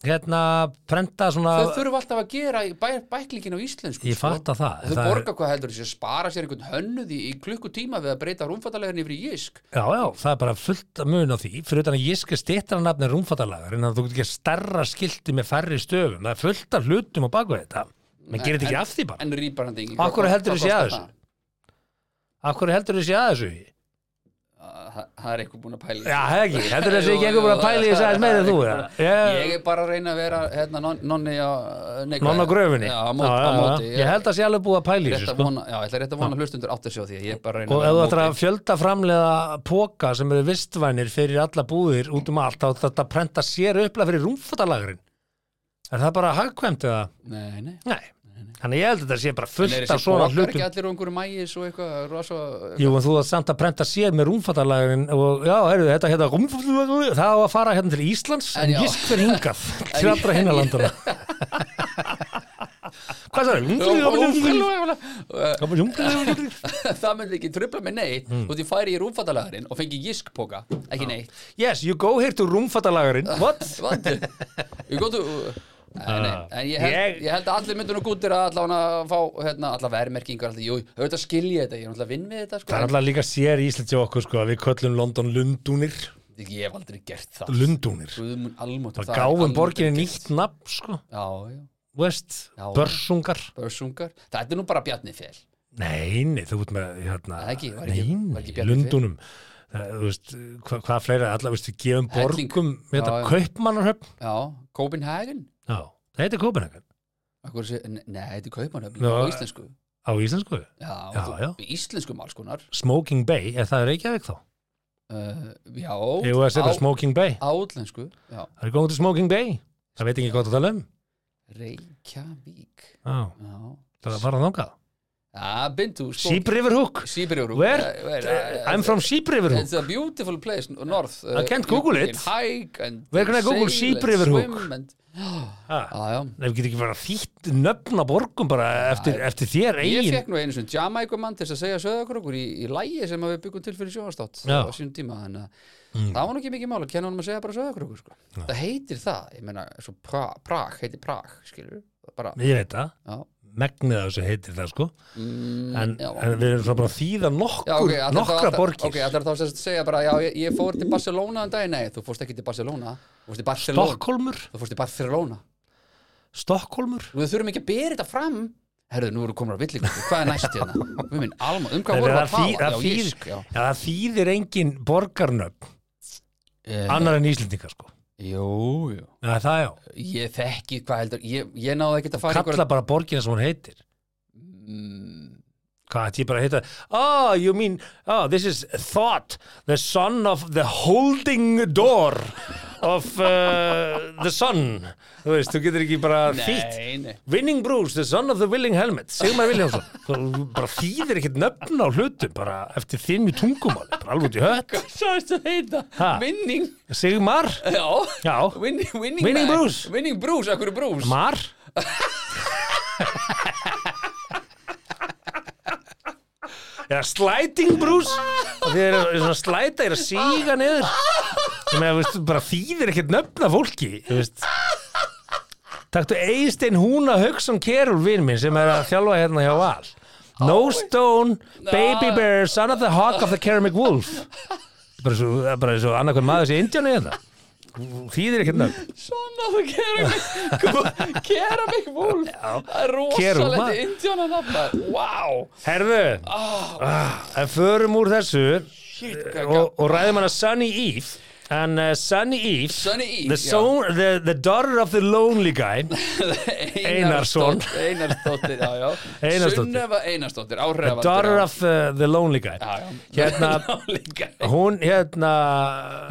hérna, prenta svona Þau þurfa alltaf að gera í bæ- bæklingin á íslensku ég sko. fatt að það, Og Þau það er, borga hvað heldur þessi að spara sér einhvern hönnuð í, í klukkutíma við að breyta rúmfattalagur yfir í jisk já, já, það er bara fullt að mun á því fyrir utan að ég skal stýttra nafni rúmfattalagar en að þú getur ekki að starra skilti með færri stöfum það er fullt af hlutum á baku þetta menn gerir þetta ekki af því bara En rýparandi Af hverju heldur þessi að þessu? af hverju heldur þessi að þessu Það það það er eitthvað búin að pæla í þessu. Já, það er ekki, þetta er þessi Jú, ekki einhver búin að jú, pæla í þessu aðeins meira en þú eða? Ég Ég- er bara að reyna að vera hérna, non- nonni á nei, hvað Nonna er- gröfunni Já, á móti, á móti Ég held að sé alveg búið að pæla í Rétt þessu að sko. vona, já, ég ætla rétt að vona hlustundur átt að sjá því að ég er bara að reyna Og að ef þú vera ættir á að móti. fjölda framlega póka sem eru vistvænir fyrir alla búðir út um allt, þá ætti þetta að prenta sér upplega fyrir rúmfattalagurinn Er það bara hagkvæmt eða? Nei, nei Nei, þannig ég held að þetta sé bara En er fullt af þessi svona bókar hlutum ekki allir úr einhverju mægis og eitthvað rosa Jú, en þú að samt að prenta sér með rúmfattalagurinn og já, heyrðu, þetta hérna rúmfattalagurinn, það á að fara hérna til Íslands En en já. gísk fyrir hingað til allra hinna landana Hvað það er? Rúmfattalagurinn, Það rúmfattalagurinn. myndi ekki trubla mig neitt Hmm. og því færi ég rúmfattalagarin og fengi giskpoka ekki neitt Yes, you go here to rúmfattalagurinn What? Vandu Ég góttu Nei, nei, en ég held, Ah. Ég- ég held að allir myndunum gútir að allan að fá hérna, allar vermerkingar, allir, jú, auðvitað skilja þetta ég er náttúrulega að vinn við þetta, sko Það er en alltaf líka sér í Íslands hjá okkur sko að við köllum London Lundúnir ég hef aldrei gert það Lundúnir Guðmun almóttur Það gáum borginni nýtt nafn sko Já, já, West, Já. Börsungar börsungar Þetta er nú bara bjarni fel Nei, nei, þú ert með hérna, Það ekki, var ekki- var nei, ekki Bjarni Lundunum það, þú veist, hva, hvað fleira allar, veist, við gefum Helling. borgum hérna, Já, já. kaupmannarhöfn Já, Copenhagen já, það heitir Kópenhagen Akkur, sé- Nei, þetta er Kaupanöfn Já. á íslensku á íslensku, Já, Já, þú- já. í íslenskum alls konar Smoking Bay er það Reykjavík þá? uh, Já, Ég var að á- setja Smoking Bay, á útlensku Já, það er góðum til Smoking Bay það veit ekki hvað það tala um Reykjavík já, Já, það var að þangað ah, bindu Sheep River Hook, Sýbrjúrú where? I'm from Sheep River uh, Hook It's a beautiful place n- north uh, I can't you- Google you can it. hike and Where can I Google sail and Sheepriver Hook? swim and- Ha, Já, já ef við getum ekki bara þýtt nöfn á borgum bara eftir, eftir þér Ég eigin fekk nú einu svona Jamaikumann til þess að segja söðakrókur í, í lægi sem að við byggum til fyrir sjónastátt Já. Mm. á sínum tíma þannig að það var nú ekki mikið mál að kenna honum að segja bara söðakrókur sko. það heitir það, ég meina svo pra, Prag, heitir Prag, skilur bara, ég veit það já, megnið af þessu heitir það sko mm, en, já. en við erum svona bara að þýða nokkur, Já, ok, ætlar nokkra þá- borgir Ok, það er þá sem sagt að segja bara, já, ég, ég fór til Barcelona en dag, nei, þú fórst ekki til Barcelona þú fórst til Barcelona, Stokkólmur þú fórst til Barcelona Stokkólmur og við þurfum ekki að bera þetta fram herðu, nú eru komin á villingu, hvað er næst hérna við minn, alma, um hvað Nei, vorum við það að tala þýð- það já, þýð- jísk, já Já, það þýðir engin borgarnöfn Eh, annar en Íslendingar sko Jú, Eh, jú Já, það já, Ég þekki, hvað heldur, ég, ég náði ekkert að fara kalla bara borgina sem hún heitir mm, Hvað, ætti ég bara að heita Oh, you mean, oh, this is Thought the son of the holding door of uh, the sun Þú veist, þú getur ekki bara þýtt Nei, nei Winning Bruce, the son of the willing helmet Sigmar Viljánsson Þú bara þýðir ekkert nöfn á hlutum bara eftir þinni tungumáli, bara alveg út í hött Svo veist að heita, Ha? vinning Sigmar, Já, já, Winning, winning, Winning man. Bruce. Winning Bruce, akkur er Bruce Mar Eða sliding Bruce Þið eru eru svona að slæta, eru að síga niður Ég meina, veist, bara þýðir ekkert nöfna fólki þú veist Taktu Eystein Húna Hauksson Kerul vinn minn sem er að þjálfa hérna hjá Val No Stone, Baby Bear, Son of the Hawk of the Keramic Wolf Bara svo, bara svo annarkvæm maður sé indjáni hérna Þýðir ekkert nöfn Svona þú keramik Keramik wolf Það er Kerum, ha? rosalegt indjóna nafn Wow Herðu, ah, en förum úr þessu og, og ræðum hana Sunny Eve en uh, Sunny Eve Sunny Eve, the, já. son, the, the daughter of the lonely guy Einarsson. Einarsdóttir, Einarsdóttir, já, já Einarsdóttir. Sunnefa Einarsdóttir, áhrifavaldur daughter á- of uh, the lonely guy Já, já. hérna, Lonely guy. hún hérna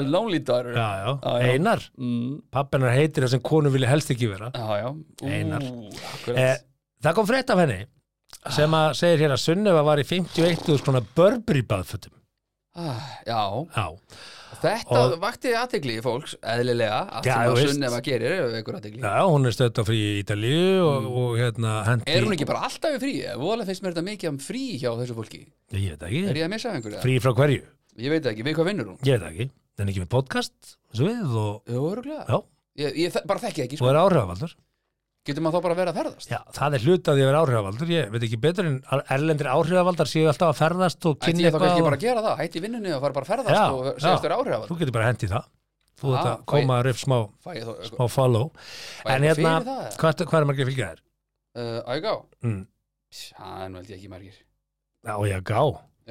Lonely daughter já, já, Já, já. Einar Mm, pappinar heitir það sem konu vilja helst ekki vera Já, já Ú, Einar. akkurat. eh, það kom frétt af henni sem að segir hérna Sunnefa var í 51.000 svona Burberry baðfötum Ah, Já, já, þetta Og- vakti aðtegli fólks, eðlilega allt Já, sem þú að veist. Sunnefa gerir er veikur aðtegli já, hún er stöðt á frí í Ítalíu og, og hérna hendi Mm. Er hún ekki bara alltaf í frí? Voðalega finnst mér þetta mikið um frí hjá þessu fólki ég veit ekki, Er ég að missa af einhverja? Mm. frí frá hverju Ég veit það ekki, við hvað vinnur hún? Ég veit það ekki, en ekki með podcast eins og við og, Jú, öruglega já, Ég, ég þe- bara þekki ekki, og sko. er áhrifavaldur getur maður þá bara að vera að ferðast? Já, það er hluti að ég vera áhrifavaldur ég veit ekki betur en að erlendri áhrifavaldar séu alltaf að ferðast og Ætti kynni ég þá kannski og- bara að gera það, hætti vinnunni og fara bara að ferðast Já, og já. segjast þér áhrifavald Þú getur bara hendið það Ah, Þú þetta fæ- koma að rif smá, Fæ ég þó eitthvað smá follow Fæ En ég hérna, fyrir það? hvað, hvað er margir fylgja þér? Uh, Ægá, Mm. það er nú held ég ekki margir Já, já, gá,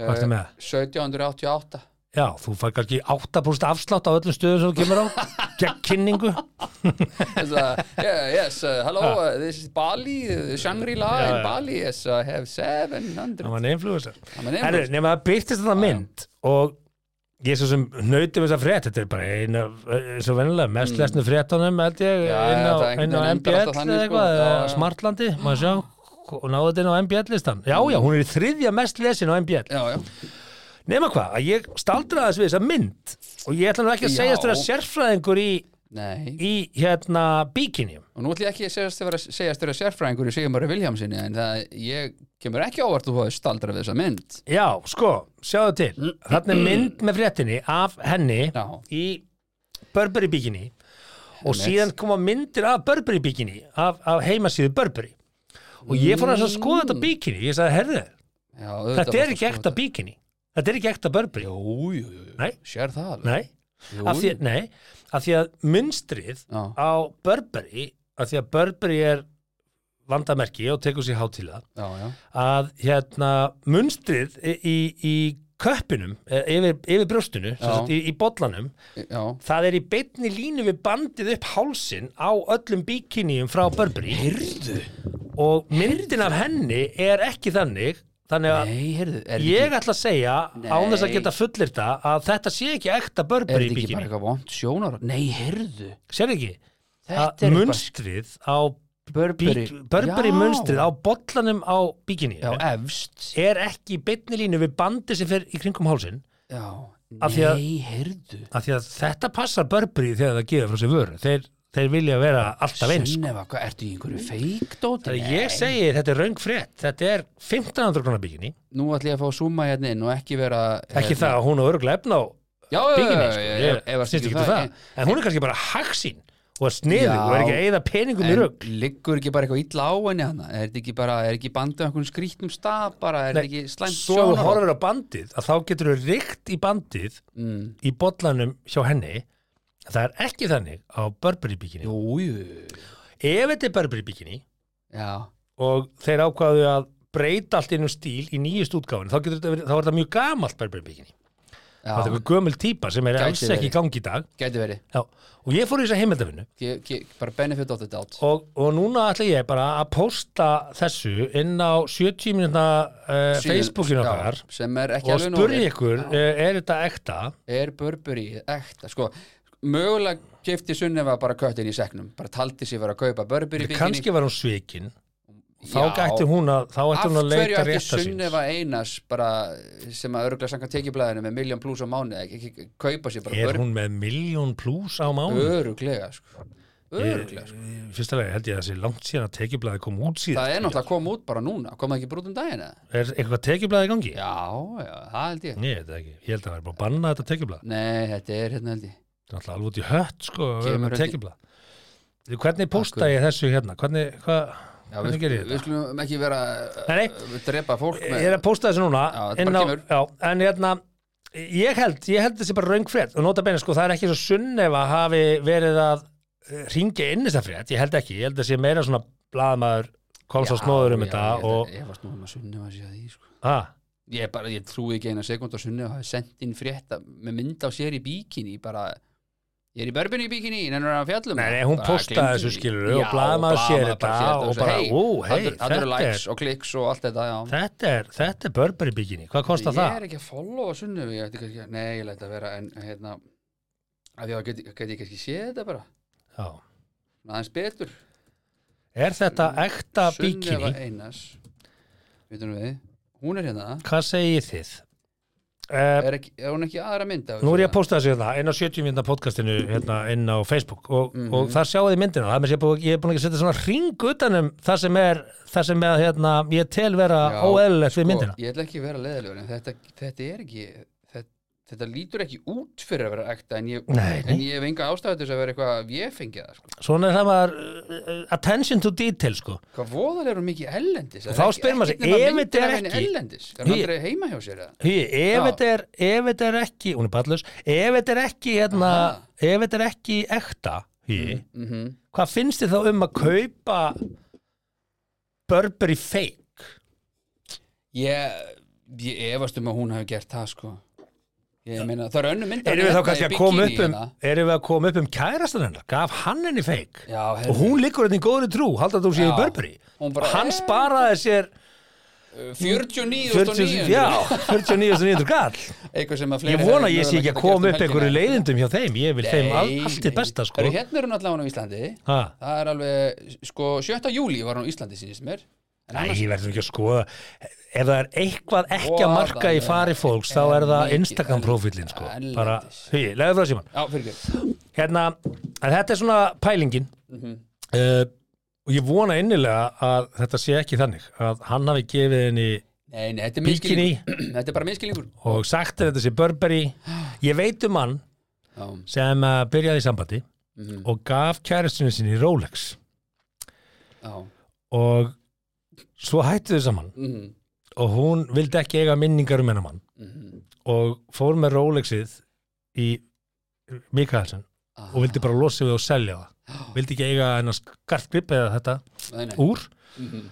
hvað Eh, er með? 1788 Já, þú fær kannski 8% afslátt á öllum stöðum sem þú kemur á gegn kynningu It's, uh, yeah, yes, uh, hello, Ah. uh, this is Bali, uh, Shangri-La Ja, ja. in Bali, yes, I have 700. Það var neinflugur Hann var Herru, neinfluencer. nema það byrtist þetta mynd og ég svo sem nautum þess að frétt þetta er bara eina, svo vennilega mest lesnu fréttunum held ég Mm. Já, inn á, já, það er einhvern inn á veginn MBL endar alltaf eða þannig, sko. eitthvað, Já, eða já. Smartlandi, maður sjá og náðu þetta inn á MBL-listan já, já, hún er í þriðja mest lesin á MBL Já, já. nema hvað, að ég staldraði þess við þessa mynd og ég ætla nú ekki að Já. segjast þér að sérfræðingur í, Nei. í hérna bíkinjum Og nú ætlum ég ekki að segjast vera, segjast vera sérfræðingur í Sigmar Viljámsinni, en það ég kemur ekki ávart þú hafði staldra við þessa mynd. já, sko, sjáðu til þarna er mynd með fréttinni af henni Mm. Já. í Burberry bíkinni og Einmitt. síðan koma myndir af Burberry bíkinni af, af heimasíðu Burberry og ég fór aðeins að skoða þetta bíkinni ég sagði, herðu, Já, auðvitað þetta varstu er ekki Mm. að ekta skoða bíkinni þetta er ekki ekta Burberry þetta. Jú, jú, jú, jú. nei, Sér það alveg. nei, af því, nei, af því að munstrið Já, á Burberry að því að Burberry er vandamerki og tekur sér hátíla já, já. að hérna munstrið í, í, í köppinum eh, yfir, yfir brjóstinu sem Já. sagt, í, í bollanum, já. það er í beinni línu við bandið upp hálsin á öllum bíkiníum frá Burberry Heyrðu. og myndin af henni er ekki þannig þannig að Nei, heyrðu, er ég þetta ætla að segja án þess að Nei. geta fullirta að þetta sé ekki ekta ekki, er Burberry þetta ekki bara bíkinni, eitthvað vond sjónar? Nei, heyrðu. sér ekki Þetta að er munstrið á bara Burberry. Bík- Burberry Já. munstrið á bollanum á bíkinni Já, efst. er ekki í beinni línu við bandi sem fer í kringum hálsin Já. Af því að- Nei, heyrðu. af því að þetta passar Burberry þegar það gefur frá sér vöru þeir, þeir vilja vera alltaf eins sko. Sunneva, hvað, ertu í einhverju feikdóti? Þegar ég segi þetta er raung frétt þetta er 1500 kronar bíkinni Nú ætlum ég að fá að zooma hérna inn og ekki vera... hérna- ekki það að hún á örgulega efna á Já, bíkinni já, sko. já, já, ég, ef að snýst skilja ekki það. en- en hún er kannski bara haksín og að sniðu Já. og er ekki að eyða peningum í En rugg liggur ekki bara eitthvað illa á henni hana? Er þetta ekki bara, er ekki bandið á einhvern skrýtnum stað bara, er Nei, þetta ekki slæmt svo ef þú sjónarhorn? horfir á bandið að þá getur þú ríkt í bandið Mm. í bollanum hjá henni það er ekki þannig á Burberry bíkinni Jú, jú, ef þetta er Burberry bíkinni já, og þeir ákvaðu að breyta allt innum stíl í nýjust útgáfin þá, getur þetta verið, þá er þetta mjög gamalt Burberry bíkinni já, það er eitthvað gömul típa sem er Gæti alls ekki verið. í gangi í dag gæti verið. Já. og ég fór í þessa heimildafinnu Ge- ge- Bara benefit of the doubt. og, og núna ætla ég bara að posta þessu inn á 70 minúta uh, Síðan- Facebookinu já, okkar Sem er ekki og alveg spurði nóg. ykkur, uh, er þetta ekta? Er Burberry ekta? Sko, mögulega kefti Sunneva bara köttin í seknum, bara taldi sér vera að kaupa Burberry bikini. kannski var hún svikin þá Já. gætti hún að, þá ætti hún að leita Af rétta hverju ekki síns Sunneva Einars bara sem að örgla sanga tekjublaðinu með miljón pluss á mánu ekki, ekki, kaupa sér bara Er börn hún með miljón plús á mánu? öruglega sko. öruglega sko. Fyrsta lagi held ég að það sé langt síðan að tekjublaði kom út síðan. það er náttúrulega að koma út bara núna kom það ekki brútum daginn eða? Er eitthvað tekjublaði í gangi? já, já, það held ég Nei, þetta ekki. Ég held að það er bara að banna þetta tekjublaði. nei, þetta er hérna held ég Þetta er náttúrulega alveg út í hött, sko, að vera Kemur með þetta í- tekjublaði. Hvernig posta ég þessu hérna? Hvernig, hvað, já, hvernig við, gerir ég við þetta? skulum ekki vera Nei, nei. uh, drepa fólk Ég er að posta þessu núna. Já, þetta inn bara á- kemur. Já, en hérna, ég held, ég held þessi bara raungfrétt og nota beina, sko, það er ekki svo sunnefa hafi verið að ringja inn þessa frétt, ég held ekki, ég held að sé meira svona blaðamaður komst á snóður um Já, þetta ég, og, ég varst nú um að Sunneva sé að því sko. að, ég, bara, ég trúi ekki eina sekund að Sunneva hafi sendt inn frétta með mynd á sér í bíkinni bara Ég er í börbunni í bíkinni, en hann fjallum Nei, nei, hún Bara postaði gleymdu þessu, því. skilurðu, og Já, blaðamaður sér blaðamaður þetta sér og og bara, segir, ú, hey, hey, það eru- það eru þetta er- likes og kliks og allt þetta, já þetta er, þetta er Burberry bikini, hvað kostar Ég það? er ekki að followa Sunnevu, ég ætti kannski að, nei, ég læt að vera en hérna, af því að get, get ég kannski séð þetta bara, Já. aðeins betur Er þetta Mm, ekta Sunneva bikini? Einars Vitum við, hún er hérna Hvað segir þið? Uh, Er, ekki, er hún ekki aðra mynd af nú er ég að þessu? posta þessu hérna, inn á 70 minna podcastinu hérna, inn á Facebook og, Mhm. og þar sjáu þið myndina, það er mér sér búið, ég er búin að setja svona ring utanum það sem er, það sem er, hérna, ég tel vera Já, óeðlilegt við sko, myndina. Ég ætla ekki að vera leðilegur en þetta, þetta er ekki þetta, þetta lítur ekki út fyrir að vera ekta en ég, Nei, nei. En ég hef enga ástæðu til þess að vera eitthvað að ég fengi það sko. Svona er það maður, uh, attention to detail, sko. Hvað voðalega er hún mikið ellendis Og þá spyr maður sig, ef þetta er ekki- ellendis, er hann Ég- aldrei heima hjá sér eða? Hugi, ef Já. þetta er, ef þetta er ekki, hún er ballus, ef þetta er ekki, hérna, Aha. ef þetta er ekki ekta, Hugi, Mm -hmm. hvað finnst þið þá um að kaupa Burberry fake? ég, ég efast um að hún hafi gert það sko Ég meina, það eru hérna önnu myndar Erum við þá kannski að koma upp hérna. um Erum við að koma upp um kærastan hennar Gaf hann henni feik Já, heyrðu. Og hún liggur hérna í góðri trú Haldar þú sé í Já. Burberry Hún bara, Og Hann eh. sparaði sér 40 já, 49.900 49.900 gall Eitthvað sem að fleiri Ég vona hefðu mögulega ég sé ekki að getað koma gert um upp einhverju helgina. leiðindum hjá þeim Ég vil þeim all, Nei, allt til nei. besta sko Eru, Hérna er hún allavega á Íslandi Ha. Það er alveg, sko, 7. júli var hún á Íslandi sínist mér En Nei, annars- ég verður ekki að skoða Ef það er eitthvað ekki að marka í Voðalega fari fólks Þá er það mikið Instagram profilin sko erlendis. Bara, hugi, leiðu frá síman Já, fyrir ekki hérna, en þetta er svona pælingin Mhm. uh, og ég vona innilega að þetta sé ekki þannig að hann hafi gefið henni Nei, nei, þetta er Bikini. minnskilningur Þetta er bara minnskilningur og sagt að þetta sé Burberry ég veit um mann Já, sem uh, byrjaði í sambandi mhm, og gaf kæristinu sinni Rolex já og svo hættu þau saman mhm, og hún vildi ekki eiga minningar um hennar mann mhm. og fór með Rolexið í Mikaelsen Ah, og vildi bara losa við og selja það já, vildi ekki eiga hennar skartgrip eða þetta nei, nei. úr Mhm.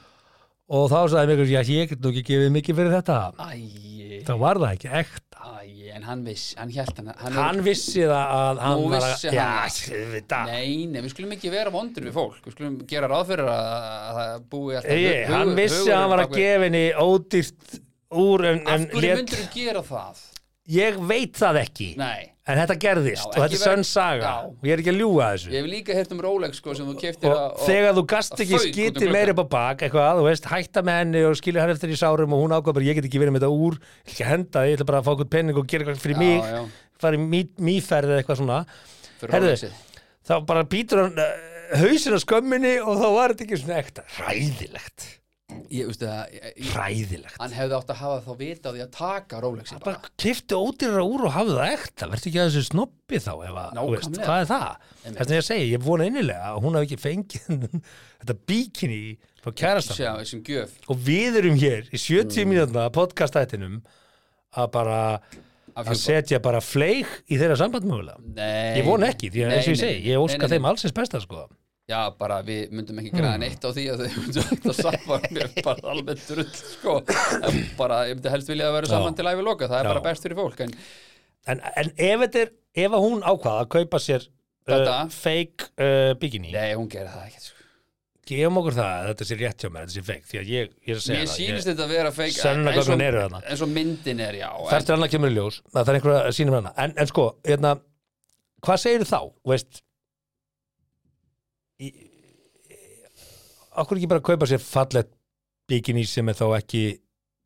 og þá sagði mig að ég get nú ekki gefið mikið fyrir þetta Æi, þá var það ekki ekta æi, en hann viss Hann hélt hann hann vissi það að hann Nú var vissi að hann. já, ég veit það. Nei, nei, við skulum ekki vera vondur við fólk Við skulum gera ráð fyrir að að það búi alltaf Ei, hugur- hann vissi hugur að hann var bak að við- gefa henni ódýrt úr en, Af en hverju lét, myndur þú gera það? ég veit það ekki Nei en þetta gerðist Já, og þetta ekki er vera- sönn saga Já. og ég er ekki að ljúga að þessu Ég hef líka heyrt um Rolex sko sem þú keftir og þegar þú gast að ekki fauk út um skitið gluggann. meira upp á bak eitthvað, þú veist, hætta með henni og skilja hann eftir í sárum og hún ákvað bara, ég get ekki verið með þetta úr ég ætla ekki að henda því, ég ætla bara að fá okkur penning og gera eitthvað fyrir Já, mig, já. fara í mý- mýferð eða eitthvað svona Fyrir Herðu, Rolexið. þá bara býtur hann uh, hausin á skömminni og þá var þetta ekki svona ekta hræðilegt, Ég veistu það ég- ég- hræðilegt Hann hefði átt að hafa þá vita á því að taka Rolexi bara bara kifti ódýrara úr og hafði það ekta verður ekki að þessu snobbi þá ef að, þú veist, Nákvæmlega. hvað er það? Einmitt. Þess að ég segi, ég vona innilega að hún hafi ekki fengið þetta bíkinni frá kærastan Sjá, sem gjöf og við erum hér í 70 mm. mínútna podcastættinum að bara af að Hugo. setja bara fleig í þeirra samband mögulega Nei ég vona ekki, því Nei, að eins og ég nei, segi ég nei, óska nei, nei. þeim Mm. alls eins besta sko Já, bara við myndum ekki græða neitt á því að þau myndum ekki að saman mér bara alveg drull, sko En bara, ég myndi helst vilja að vera saman til æfi loka það er Já. bara best fyrir fólk, en en, en ef, þetta er, ef að hún ákvaða að kaupa sér uh, Þetta? fake uh, bikini nei, hún gerir það ekki, sko gefum okkur það að þetta sé rétt hjá mér þetta sé fake, því að ég, ég er að segja Mér það sýnist ég, þetta að vera feik Sönnunargögnin eru þarna. eins og myndin er, já en, þarftur hann að kemur í ljós að það er einhverja að sýnum hana en, en sko, hérna, hvað segir þá veist í, okkur ekki bara kaupa sér fallet bikini sem er þá ekki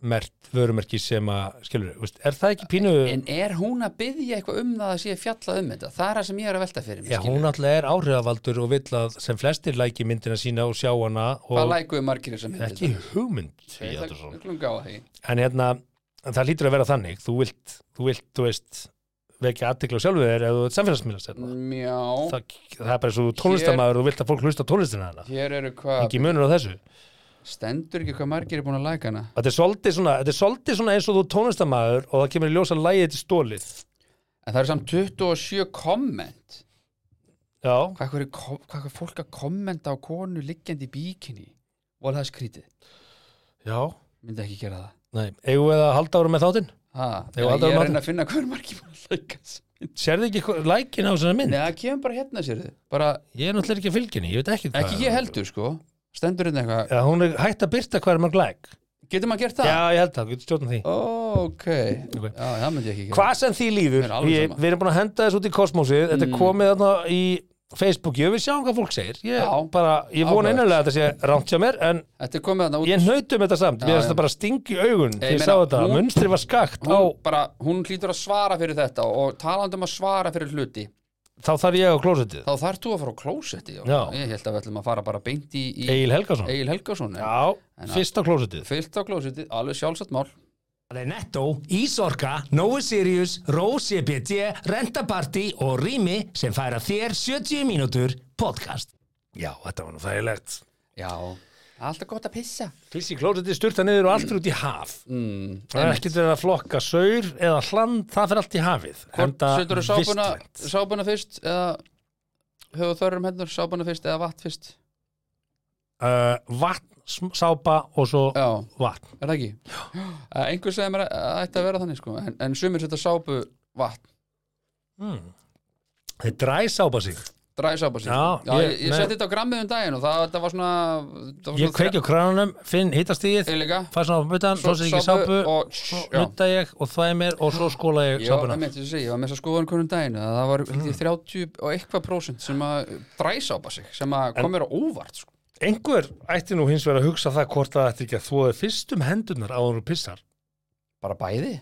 mert, vörumerki sem að skilur, veist, er það ekki pínu en er hún að byggja eitthvað um það að sé fjallað um þetta? Það er það sem ég er að velta fyrir mig, Já, hún alltaf er áhrifavaldur og vill að sem flestir læki myndina sína og sjá hana Hvað og lækuðu margir þessar myndir? ekki hugmynd Nei, í það- þetta svona. við skulum gáfa því. en hérna, það lítur að vera þannig þú vilt, þú vilt, þú veist vekja aðtekla sjálfu þér eða þú ert samfélagsmiðlast hérna. Mjá, það, það er bara eins og tónlistamæður þú vilt að fólk hlusta á tónlistina hana hér eru hvað ekki munur á þessu Stendur ekki hvað margir er búin að læka hana? þetta er svolítið svona, þetta er svolítið svona eins og þú tónlistamæður og það kemur í ljós að lægið til stólið En það eru samt 27 komment já, Hvað hverju kom- hvað hverju fólk að kommenta á konu liggjandi í bíkinni? Var það skrítið? já Myndi ekki gera það Nei, eigum við að halda ára með þáttinn? ha, Ég Nei, og er aldrei að matur. reyna að finna hverju margir búin að læka þessa mynd. Sérðu ekki hvað- lækin á þessari mynd? Nei, það kemur bara hérna sér þið bara, Ég er náttúrulega ekki að fylginni, ég veit ekki hvað Ekki ég heldur sko Stendur hérna eitthvað Já, hún er hægt að byrta hvað er mörg læk Getur maður gert það? Já, ég held það, getur stjórnum því Ó, ok Ok. Já, það myndi ég ekki gera Hvað sem því líður, Mér er alveg ég, sama. Mm. við erum búin að henda þessu út í kosmósið Þetta er komið þarna í Facebooki og við sjáum hvað fólk segir Ég, Já. bara, ég vona Áhugavert. einanlega að þetta sé rámt hjá mér En Þetta er komið þarna út ég nautum þetta samt, mér Já, já. finnst þetta bara sting í augun Ég Þegar ég sá meina, þetta, hún- munstri var skakt á, hún, bara, hún hlýtur að svara fyrir þetta og talandi um að svara fyrir hluti Þá þarf ég á klósettið þá þarf þú að fara á klósetti Já. ég held að við ætlum að fara bara beint í, í Egil Helgason Egil Helgason en Já, En að- fyrst á klósettið fyllt á klósetti, alveg sjálfsagt mál Það er Netto, Ísorka, Nói Sirius, Rósi BT, Rentaparty og Rými sem færa þér 70 mínútur podcast. Já, þetta var nú þægilegt já, alltaf gott að pissa Fyrst í klósettið sturta niður og allt fyrir út í haf mm, Það er ekkert verið að flokka saur eða hland, það fyrir allt í hafið. Enda setur þú sápuna, vistvænt. sápuna fyrst eða höfðu þörrum hendur sápuna fyrst eða vatn fyrst Uh, vatn, sm- sápa og svo já, vatn. Eh, er það ekki? Uh, einhver segir mér að að ætti að vera þannig sko en, en sumir setja sápu vatn Þeir dræsápa sig dræsápa sig Já, ég, ég- ég með- setti þetta á grammið um daginn og það, það var svona það var Ég kveiki á kranunum, finn hittastíðið Eilega, Fæ svona á butan, svo sér ekki sápu og, já, Nutta ég og þvæði mér og svo skóla ég já, sápuna það með þessi, ég var með þess að skoða hann hvernig daginn að það var mm. 30 og eitthvað prósent sem að dræsápa sig, sem að kom mér á óvart sko. Einhver ætti nú hins vegar að hugsa það hvort það ætti ekki að þvoði fyrst um hendunar áður og pissar bara bæði,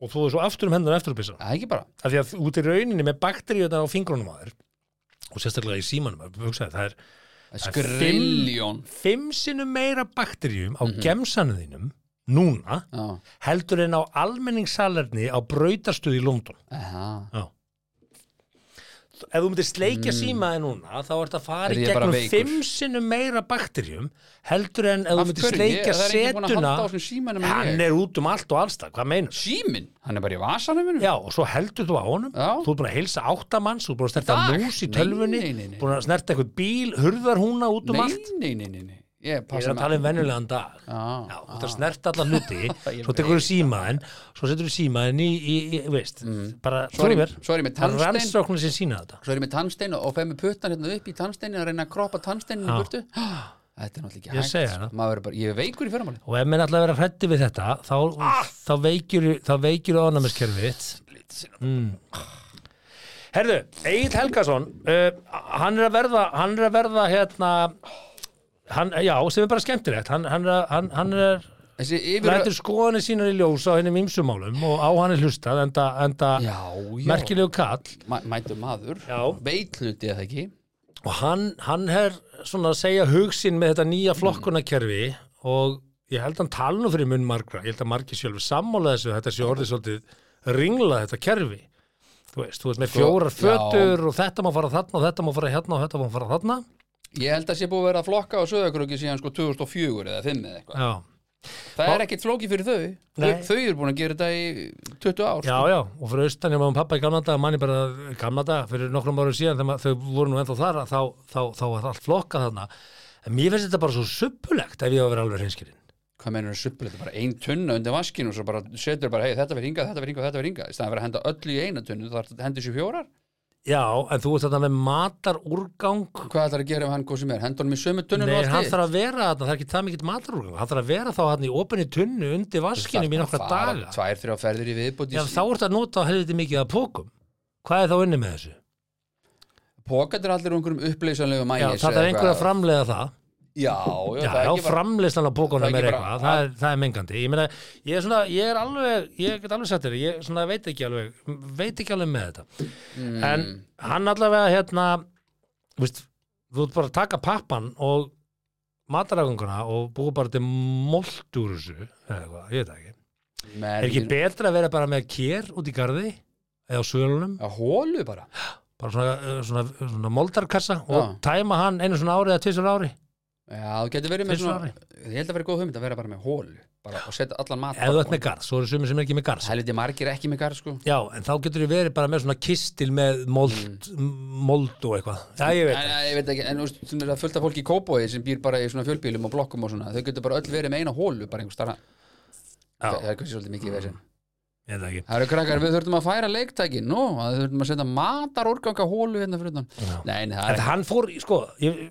og þvoði svo aftur um hendunar eftir að pissa það er ekki bara af því að þú- út í rauninni með bakteríunar á fingrunum á þér og sérstaklega í símanum að hugsaði það er það er Það er skrilljón fimm sinnum meira Mhm. bakteríum á mm þínum núna já, heldur en á almenningssalerni á brautastuð í London aha ef þú myndir sleikja mm. símaði núna þá ert að fara Er í ég bara gegnum veikur? fimm sinnum meira bakterjum heldur en ef þú Af myndir hverju? sleikja Ég- það er enginn búinn að setuna halda á þessum símanum en hann ég. er út um allt og allstað, hvað meinar símin, hann er bara í vasanum mínum. Já, og svo heldur þú á honum, Já. þú er búin að heilsa áttamanns, þú er búin að snerta Dag? mús í Nei, tölvunni, nei, nei, nei. búin að snerta eitthvað bíl, hurðarhúna út um allt. nei, nei, nei, nei, nei, ég Ég passa er að tala um venjulegan dag. Já, Já, þú ert að snerta alla hluti, Ég svo tekur þú símaðin, svo setur þú símaðin í, í, í veist, bara, Svo er ég- trúið mér, svo er ég Mm. með það er tannstein. rannsóknir sem sína þetta. svo er ég með tannstein og og fer með puttan hérna upp í tannsteinu og reyna að kroppa tannsteinu í Já. burtu þetta er náttúrulega ekki Ég hægt segi sko. það. Maður er bara, ég er veikur í fyrramáli Og ef menn alltaf vera hrætti við þetta, þá, þá veikjur þá veikjur ánæmiskerfið þitt. Mm. Herðu, Egil Helgason, uh, hann er að verða, hann er að verða hérna, hann, já, sem er bara skemmtilegt, hann, hann, er að- hann, hann er, þessi yfir lætur skoðanir sínar í ljós á hennum ymsumálum og á hann er hlustað, enda, enda já, já, merkilegu kall. Ma mætur maður Já. veitluti eða ekki og hann, hann er svona að segja hugsin með þetta nýja flokkunarkerfi og ég held að hann tala nú fyrir munn margra, ég held að margir sjálfur sammála þessu, þetta sé orðið svolítið ringla þetta kerfi þú veist, þú veist með fjórar já. fötur og þetta má fara þarna og þetta má fara hérna og þetta má fara þarna ég held að sé búið að vera að flokka á söðakröki síðan sko 2004 eða 5 eða eitthvað já, það er ekkert flóki fyrir þau Nei. þau, þau eru búin að gera þetta í 20 ár já, sko. já og fyrir austan ég maður pappa í gamla dag, manni bara gamla dag fyrir nokkrum árum síðan þegar maður- þau voru nú ennþá þar að þá, þá, þá, þá var allt flokkað þarna en mér finnst þetta bara svo suppulegt ef ég á að vera alveg hinskirinn hvað meinar það suppil, þetta er bara ein tunna undir vaskinu og svo bara setur bara, hei þetta verður hingað, þetta verður hingað, þetta verður hingað í staðan fyrir að henda öllu í eina tunnu þar hendur sér fjórar Já, en þú veist þetta með matar hvað ætlar að gera ef hann góð sem er, hendur hann í sömu tunnu Nei, hann þarf að vera þarna, það er ekki það mikill matarúrgang hann þarf að vera þá hann í opinni tunnu undir vaskinum í nokkra daga tvær, þrjá ferðir í viðbúti Já, þá ert að nota á helviti mikið að pókum Hvað er þá inni með þessu? Pókat er allir úr einhverjum uppleysanlegu mænis Já, það er einhver að framleiða það Já, já, Já, það er já, ekki bara framleiðslan á pókunum það er er ekki eitthvað bara- það er, það er mengandi Ég meina, ég er svona, ég er alveg ég get alveg sett þér, ég svona veit ekki alveg veit ekki alveg með þetta Mm. En hann allavega hérna þú veist, þú ert bara að taka pappan og mataragunguna og búið bara til mold úr þessu eða eitthvað, ég veit það ekki menn, Er ekki betra að vera bara með kér út í garði eða á sölunum, Að hólu bara bara svona, eh, svona, svona moldarkassa og Já. tæma hann einu svona ári eða tvisar ári Já, þú getur verið með Fyrst svona ári. Ég held að vera góð hugmynd að vera bara með hólu bara, og setja allan mat ef þú ert með garð, svo eru sumir sem er ekki með garð Helviti margir ekki með garð sko Já, en þá getur þú verið bara með svona kistil með mold, mold og eitthvað Já, ég veit En, það. en, ég veit ekki, en þú veist, svona er það fullt af fólki í kópói sem býr bara í svona fjölbílum og blokkum og svona þau getur bara öll verið með eina hólu bara einhver starra það það Já, er kannski svolítið mikið í veginn ég veit það ekki Það eru krakkar, við þurfum að færa leiktækin nú, að við þurfum að setja matar úrganga hólu hérna fyrir utan Nei, nei, það er En hann fór, í- sko, ég,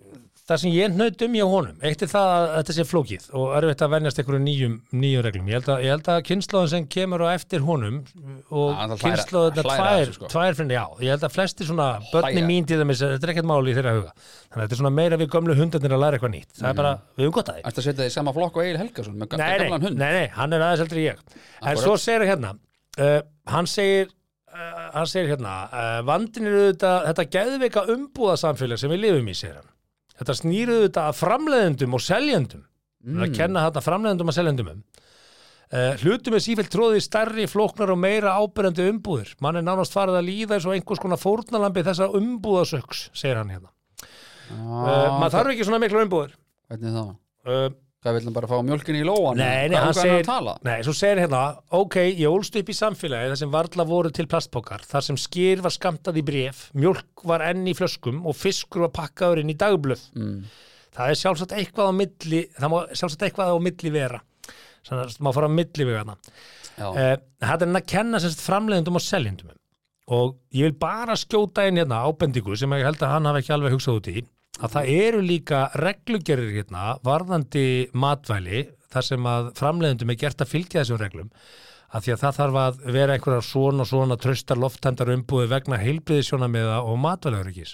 það sem ég hnaut um hjá honum, eitt er það að þetta sé flókið og erfitt að venjast einhverju nýjum, nýjum reglum. Ég held að, ég held að kynnslóðin sem kemur á eftir honum Já, hann ætlar og að hlæra- kynnslóðina hlæra að tvær, þessu, sko. tvær finni, já, ég held að flesti svona, börni Hlæja. mín til dæmis, þetta er ekkert máli í þeirra huga. Þannig að þetta er svona meira við gömlu hundarnir að læra eitthvað nýtt. Mhm. Það er bara, við höfum gott að því. Ætti að setja þið í sama flokk og Egil Helgason með nei, nei, gamlan hund nei, nei, hann er aðeins eldri en ég en Akkurat. svo segir hérna uh, hann segir uh, hann segir hérna, uh, vandin eru þetta þetta geðveika umbúðasamfélag sem við lifum í segir hann, þetta snýru þetta að framleiðendum og seljendum mm. að kenna þetta framleiðendum og seljendum um Uh, hlutum er sífælt tróði stærri, flóknar og meira ábyrjandi umbúðir. Mann er nánast farið að líða eins og einhvers konar fórnalambi þessa umbúðasöks, segir hann hérna. Uh, Á, maður þarf ekki svona miklu umbúðir. Hvernig þá? Uh, Hvað vil hann bara fá mjölkinni í lóan? Nei, Hvað nei, hann langar að segir, tala? nei, svo segir hérna ok, ég ólst upp í samfélagi þar sem varla voru til plastpokar, þar sem skýr var skamtað í bref, mjólk var enn í flöskum og fiskur var pakkaður inn í dagblöð Mm. það er sjálfsagt eitthvað á milli það má sjálfsagt eitthvað á milli vera þannig að maður fara á milli við hana Já. uh, þetta er hann að kenna sérst framleiðendum og seljendum um. og ég vil bara skjóta inn hérna ábendingu sem ég held að hann hafi ekki alveg hugsað út í að það eru líka reglugerir hérna varðandi matvæli þar sem að framleiðendum er gert að fylgja þessum reglum að því að það þarf að vera einhverjar svona og svona tröstar lofthæmdar umbúði vegna heilbriðisjónamiða og matvælaurikis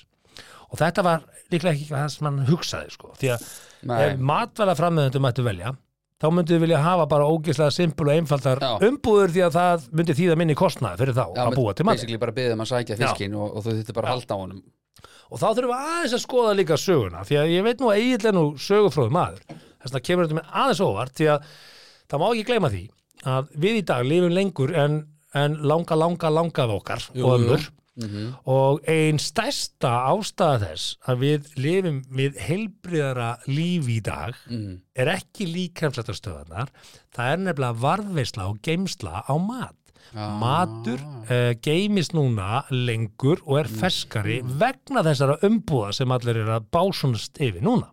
og þetta var líklega ekki það sem hann hugsaði sko því að Nei. ef matvælaframleðendur mættu velja þá myndu við vilja hafa bara ógislega simpul og einfaldar Já. umbúður því að það myndi þýða minni kostnaði fyrir þá að búa til matinn Basically bara beðið um að sækja fiskin og, og þú þurfti bara að halda á honum og þá þurfum við aðeins að skoða líka söguna því að ég veit nú að eiginlega nú sögufróðu maður þess vegna kemur þetta með aðeins óvart því að það má ekki gleyma því að við í dag lifum lengur en, en langa, langa, langað okkar og ömmur og ein stærsta ástæða þess að við lifum við heilbriðara líf í dag er ekki líkamsrættastöðanar það er nefnilega varðveisla og geimsla á mat Ah. matur uh, geimist núna lengur og er ferskari vegna þessara umbúða sem allir eru að básumst yfir núna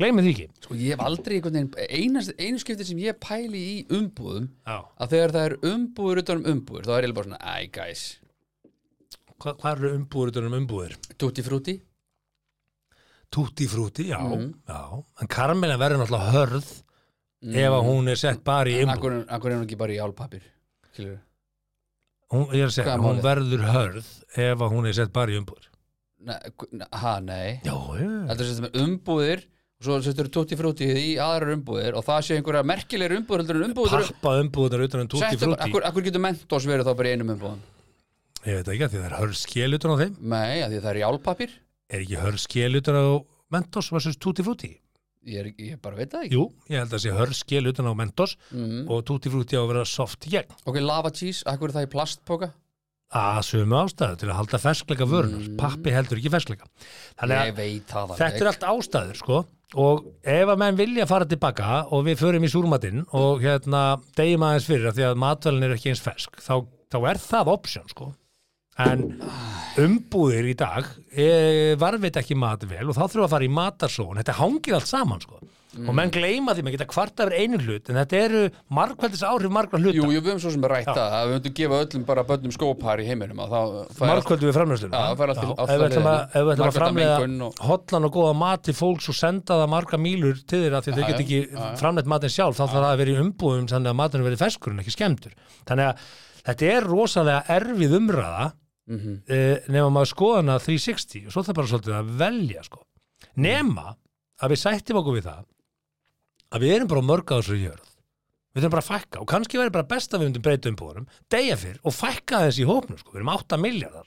gleymið því ekki Sko ég hef aldrei einhvern veginn einu, einu skipti sem ég pæli í umbúðum Já. að þegar það er umbúður utan um umbúður þá er ég bara svona, æ guys Hva, hvað eru umbúður utan um umbúður? tutti frutti Tutti frutti, já, já. en karmina verður náttúrulega hörð ef að Mhm. hún er sett bara í umbúð akkur, akkur er hún ekki bara í álpapir skilur hún, ég er að segja, Hvað er hún málið? verður hörð ef að hún er sett bara í umbúður ha, nei já, já, þetta er sem sagt umbúðir og svo settur tutti frutti í aðrar umbúðir og það sé einhverja merkilegri umbúður heldur en umbúður pappa umbúðunar utan um tutti Settu bara- frutti akkur, akkur getur mentos verið þá bara í einum umbúðum ég veit ekki að því það er hörð skél utan á þeim nei, af því að það er í álpapir er ekki hörð skél utan á mentos versus tutti frutti ég, er, ég bara veit það ekki Jú, ég held að sé hörskil utan á Mentos Mhm. og tutti frutti á að vera soft gegn ok, lava cheese, akkur er það í plastpoka að sömu ástæðu til að halda ferskleika vörunar Mm. pappi heldur ekki ferskleika þannig að ég veit það þetta er allt ástæður sko og ef að menn vilja fara tilbaka og við förum í súrmatinn og hérna deyjum aðeins fyrir að því að matvælin er ekki eins fersk þá, þá er það option sko en umbúðir í dag e, varveit ekki mat vel og þá þurfum við að fara í matarsón þetta hangir allt saman sko og menn gleyma því, menn geta kvarta yfir einu hlut en þetta eru margkvældis áhrif margra hluta Jú, jú, við höfum svo sem að ræta það, að við höfum að gefa öllum bara bönnum skópar í heiminum að þá fær allt- margkvöldu við framlösluna Já, það fer allt til- allt ef við til ætlum að, leiðina. ef við ætlum að Margfalda mengun framlega og- hotlan og góða mat til fólks og senda það marga mýlur til þeirra því að þau Já, get já, ekki framleitt matinn sjálf þá þarf það að vera í umbúðum þannig að matinn verið ferskur en ekki skemmtur þannig að þetta er rosalega erfið umræða mm -hmm. uh, nema maður skoða hana 360 og svo það bara svolítið að velja sko. nema að við sættum okkur við það að við erum bara á mörg á þessu jörð við þurfum bara að fækka og kannski verður bara best að við myndum breyta umbúðunum degja fyrr og fækka þessi í hópnum sko. við erum 8 miljardar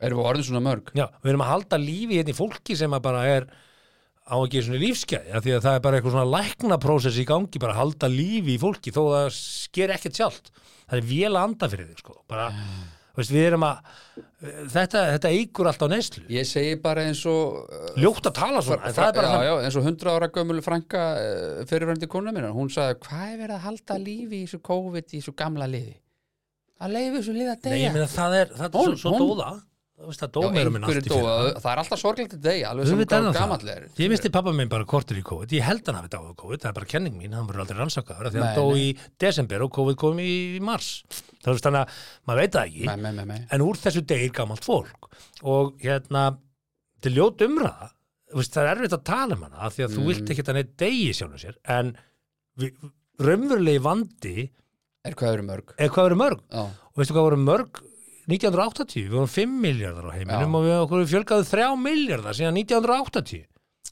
Erum við orðin svona mörg? Já, við erum að halda lífi hérna í fólki sem að bara er á ekki svona lífskeiði af því að það er bara eitthvað svona læknaprósess í gangi bara að halda lífi í fólki þó það sker ekkert sjálft það er vel að anda fyrir þig sko bara, veist, við erum að þetta, þetta eigur allt á neyslu Ég segi bara eins og uh, ljótt að tala svona, en það er bara já, þannig. já, eins og 100 ára gömul frænka uh, fyrirverandi konu minna, hún sagði hvað er verið að halda lífi í þessu COVID í þessu gamla liði? Að leifi þessu liði að Nei, ég deyja meina það er, það er Hún- svo, svo hún- dóða það veist, það Já, dómur minn einhverju allt í dóu, fyrir það er alltaf sorglegt að deyja alveg Þú sem veit annað gamall það. er Ég misti pappa minn bara kortir í COVID, ég held hann hafi dáið úr COVID, það er bara kenning mín, hann verður aldrei rannsakaður af því að hann Nei, dó í desember og COVID kom í, í mars. Það er þannig að maður veit það ekki, Nei, nei, nei, nei. en úr þessu degir gamalt fólk og hérna, þetta er ljót umræða, Þú veist, það er erfitt að tala um hana af því að þú Mm. vilt ekki að neitt degi sjálfum sér, en við, raunverulegi vandi er Er hvað eru mörg? hvað verður mörg Já, og veistu hvað voru mörg 1980, við vorum 5 miljardar á heiminum Já. og við okkur fjölgaðu 3 miljardar síðan 1980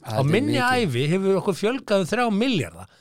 það á er minni mikið. æfi hefur okkur fjölgaðu 3 miljardar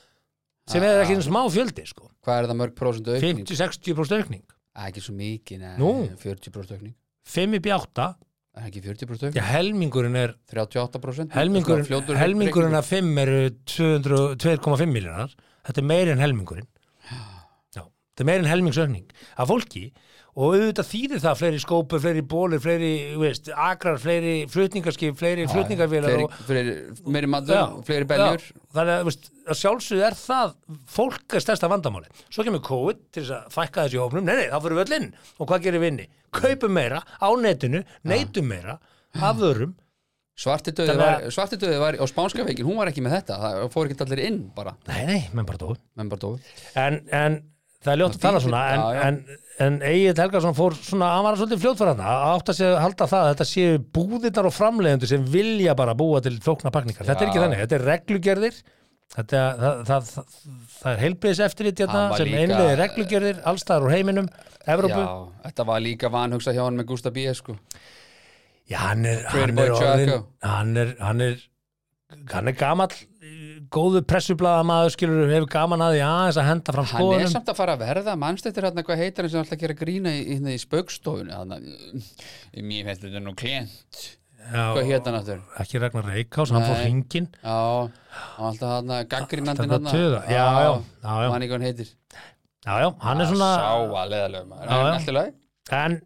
sem er ekki einn smá fjöldi sko. Hvað er það mörg prósentu aukning? 50-60% aukning Að, Ah, Ekki svo mikið, nei, Nú. 40 prósentu aukning 5 upp í 8, Er Ekki 40 prósentu aukning? já helmingurinn er 38% helmingurinn, helmingurinn af 5 eru 200 2,5 miljardar þetta er meir en helmingurinn já, þetta er meir en helmingsöfning af fólki og auðvitað þýðir það fleiri skópur, fleiri bólir, fleiri þú veist, agrar, fleiri flutningarskip fleiri flutningarvélar fleiri, og fleiri, fleiri matur, Já, fleiri beljur já, þannig að, þú veist, að sjálfsögðu er það fólk er stærsta vandamáli svo kemur COVID til þess að fækka þessi hófnum nei, nei, þá fyrir við öll inn og hvað gerir við inni kaupum meira á netinu, neytum meira af vörum svartidauði Þannig var, að- svartidauði var á spánska veikin, hún var ekki með þetta það fór ekki allir inn bara, nei, nei, menn bara dói menn bara dói en, en það er ljótt að tala Fíkild, svona en, já, já. en, en Egil Helgason fór svona, hann var svolítið fljótfæra hann að átta sig að halda það, að þetta séu búðirnar og framleiðendur sem vilja bara búa til flókna pakningar, þetta er ekki Já. þannig, þetta er reglugerðir þetta, það, það, það, það er heilbriðis eftir þetta Hann var sem líka- einlega reglugerðir allstaðar úr heiminum, Evrópu já, Já, þetta var líka vanhugsað hjá hann með Gustaf B. sko. hann er Pretty hann boy er, orðin, Jocko. hann er hann er hann er gamall góðu pressublaða maður skilur hefur gaman að því aðeins að henda fram Hann er skoðunum samt að fara að verða mannstættir hérna, hvað heitir hann sem er alltaf að gera grína í, í, í spaukstofunni hann Mér finnst þetta nú klient Hvað Já, hétt hann aftur? ekki Ragnar Reykjás, hann fór Nei. hringin Já, hann alltaf hann að gaggrinandinn Alltaf að tuða. Já, já, já, já. Hann ekki hvað hann heitir Ah, Já, já, hann er svona Sá að leðalega maður Já, En já. allt í lagi en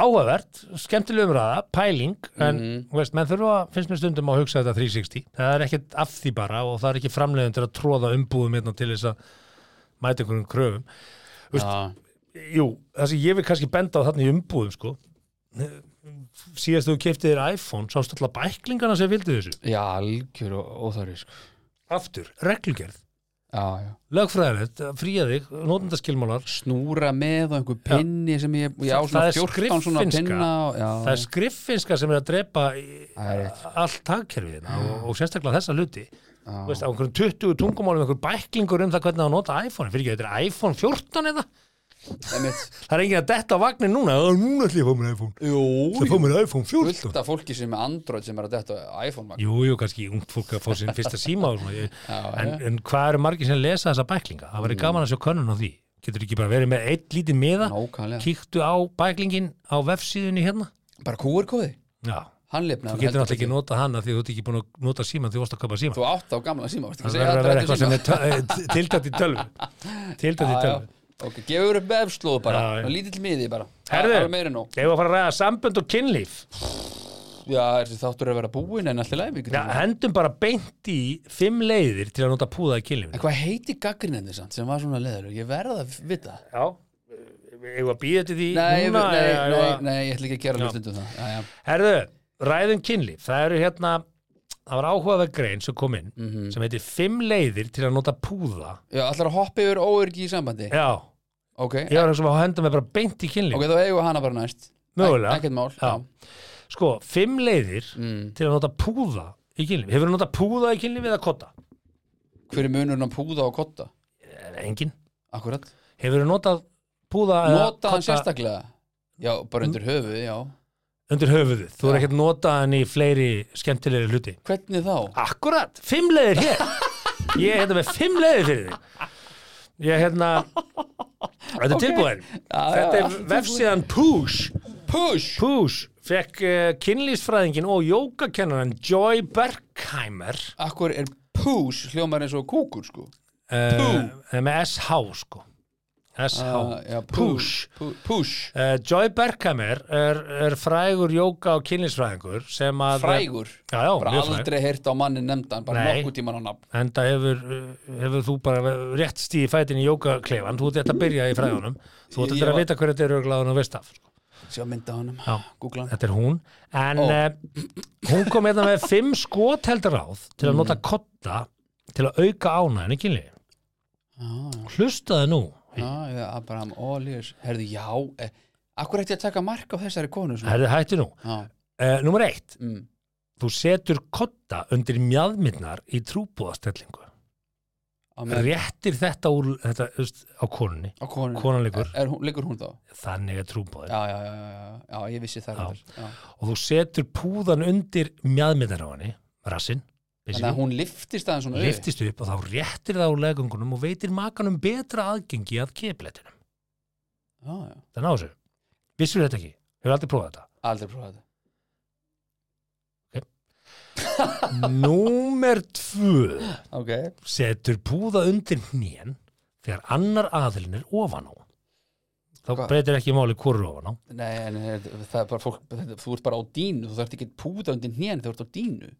áhugavert, skemmtileg umræða pæling, en mm Mhm. veist, menn þurfa finnst mér stundum að hugsa þetta 360 það er ekkert af því bara og það er ekki framleiðundur að tróða umbúðum hérna til þess að mæta einhverjum kröfum Veist- Já. Jú, það sem ég vil kannski benda á þarna í umbúðum sko síðast þú keftið þér iPhone sást alltaf bæklingana sem vildi þessu Já, algjör og óþarri sko. aftur, reglugerð, Já, já lögfræðilegt fríða þig, notendaskilmálar Snúra með og einhver pinni sem ég, ég á Það- svona það er 14 svona skriffinska. pinna og, já, það er skriffinska sem er að drepa í- Það er rétt. allt hagkerfið hérna og, og sérstaklega þessa hluti já. Þú veist, á einhverjum 20 tungumálum einhverjum bæklingur um það hvernig það á að nota iPhone fyrir ekki, þetta er iPhone 14 eða Einmitt. það er enginn að detta á vagnin núna "Ó, núna ætlum ég að fá mér iPhone Jú, það fá mér iPhone fullt 14 af fólki sem er Android sem er að detta á iPhone vagn. jú, jú, kannski ungt fólk að fá sín fyrsta síma og svona, ég, Já, Mm. en, en hvað eru margir sem lesa þessa bæklinga það væri gaman að sjá könnun á því getur ekki bara verið með eitt lítið miða Nákvæmlega kíktu á bæklingin á vefsíðunni hérna Bara QR-kóði, já, hann lifnaði þú getur náttúrulega ekki nota hana því þú ert ekki búin að nota síma því þú varst að köpa síma Þú átt á gamla síma, vorstu ekki að það segja verður að vera þetta eitthvað sem er töl- eh, tiltætt í tölvu tiltætt í tölvu Ok, gefur upp vefslóð bara, Já, já. og lítill miði bara Herðu. Það er meira en nóg Ef við að fara að ræða sambönd og kynlíf Já, þessi þáttur er að vera búinn en allt í læmi Já, hendum bara beint í fimm leiðir til að nota púða í kynlífinu En hvað heiti gaggrinandi samt sem var svona leður Ég verð að vita það. Já, ef við að býða til því Nei, núna, nei, eða- nei, eða- nei, ég ætla ekki að gera hlustundum það já, já. Herðu, ræðum kynlíf Það eru hérna, það var áhugaverð grein sem kom inn, sem heitir fimm leiðir til að nota púða já, allar að hoppa yfir óörgi í sambandi Já, Ok, ég var eins og að henda mig bara beint í kynlíf ok, þá eigum við hana bara næst Mögulega. Ek- Ekkert mál Já. Sko, fimm leiðir Mm. til að nota púða í kynlíf Hefur nota púða í kynlíf eða kotta? Hver er munurinn á púða og kotta? Eh, Engin Akkurat Hefur notað púða eða Nota hann kodda sérstaklega Já, bara undir höfuð, já undir höfuðið. Þú er Já. ekkert notað hann í fleiri skemmtilegri hluti. Hvernig þá? Akkurat, fimm leiðir hér. Ég er hérna með fimm leiðir fyrir þig. Ég er hérna, þetta er okay. tilbúin. þetta já, er vefsíðan Push. Push! Push fekk uh, kynlýsfræðingin og jókakennaran Joy Bergheimer Akkur er push hljómar eins og kúkur, sko uh, með SH sko. SH. Ah, já, push. pu- Push Uh, Joy Bergheimer er, er frægur jóka og kynlýsfræðingur sem að... Frægur Já, já, Bara mjög frægur. aldrei heyrt á manni nefndan Bara Nei. nokkuð tíman á nafn enda hefur, uh, hefur þú bara rétt stíð í fætin í jókaklefan þú ert þetta að byrja í fræðunum þú ert Ég- þetta ég að var- vita hverju þetta er örglaðan og veist af sko. Sjá mynda honum Já. Google hann þetta er hún en Ó. uh, hún kom hérna með fimm skoteldaráð Mm. til að nota kotta til að auka ánæðin í kynli hlustaði nú Já, já, Abraham Olíus Herðu, já eh, Akkur ætti ég að taka mark á þessari konu svona? herði hættu nú Já, uh, nummer eitt, mm. þú setur kotta undir mjadminnar í trúbúðastellingu Á, með, réttir þetta úr þetta, þú veist, á konunni á konunni konan liggur, er, hún, Liggur hún þá? þannig er trúbúðin Já, já, já, já, já, já ég vissi það Já. reyndar. já. og þú setur púðan undir mjadmyndar á henni, rassinn Þannig að hún liftist aðeins svona upp. liftist upp og þá réttir það úr legungunum og veitir makanum betra aðgengi að kefletinum. Já, já, Það ná þessu. Vissur þetta ekki? Hefur aldrei prófað þetta? aldrei prófað þetta Númer tvö Ok, setur púða undir hnén þegar annar aðilin er ofan á. Þá Hvað? breytir ekki máli hvorur ofan á. nei, en eh, það er bara fólk þetta- Þú ert bara á dínu, þú þarft ekki að púða undir hnén Þú ert á dínu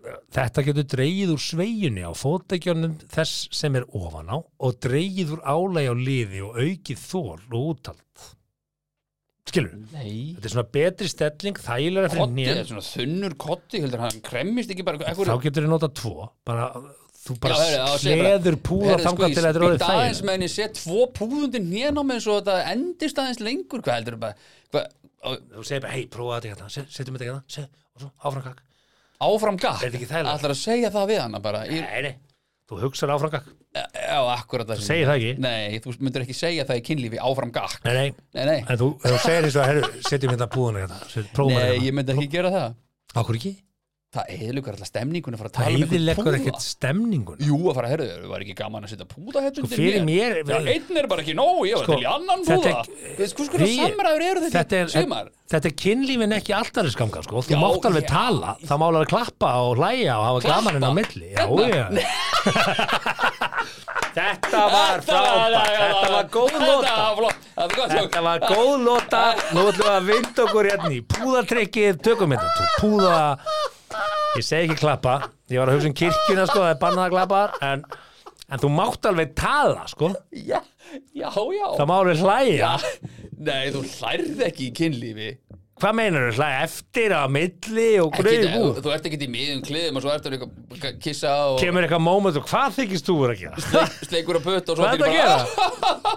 Þetta getur dreigið úr sveiginni á fótækjunum þess sem er ofan á og dreigið úr álæg á liði og aukið þól og útald. Skilur? Nei Þetta er svona betri stelling, þægilega fyrir Kotti, nén. þetta er svona þunnur kotti heldur, hann kremmist ekki bara Þá getur þið nota tvo, bara Þú Já, heyrðu, bara það segir bara- sleður púða heyrðu, sko, þangað ég til þetta er orðið spýt aðeins þægir meðan ég set tvo púðundin hérna með eins og þetta endist aðeins lengur hvað heldur bara hva, á- Þú segir bara, hei, prófa þetta hérna, se- setjum þetta hérna se- og svo áframkak áfram gakk Er þetta ekki þægilegt? ætlar að segja það við hana bara ég, Nei, nei, þú hugsar áframkak já, akkurat það sem- Segir það ekki? nei, þú myndir ekki segja það í kynlífi áfram gakk Nei, nei, nei, nei, en þú, ef þú segir eins og herru, setjum hérna púðuna hérna, set- prófum nei þetta ég myndi ekki gera það Akkur ekki? það eðlugur alltaf stemningunni að fara að tala Það um einhvern heiðilegur púða. ekkert stemningun Jú, að fara að herðu, var ekki gaman að setja púða hérna undir Sko, fyrir mér- Já, einn er bara ekki nóg, ég var Sko, til í annan þetta púða er- Hvers konar Hugi, samræður eru þetta þetta er- sumar? Þetta er kynlífin ekki alltariskanga sko. Þú Já, mátt alveg já. tala Það má alveg klappa og hlæja og hafa Klappa? gamaninn á milli Já, Hérna? já Þetta var frábært Þetta var góð Þetta nota var flott, þetta var gott Þetta var góð nota Nú ætlum við að vinda okkur hérna í púðatrykkið Tökum þetta Tú Púða Ég segi ekki klappa Ég var að hugsa um kirkjuna sko Það er bannað að klappa En, en þú mátt alveg tala sko Já, já, já Það má alveg hlæja Nei, þú hlærð ekki í kynlífi Hvað meinar þú? Hlæja eftir á milli og ekki, greið þú, þú ert ekki í miðum kliðum og svo ertu líka að kissa og kemur eitthvað moment og hvað þykist þú vera að gera? sleik- sleikur að putta og svo Hvað er allir þetta að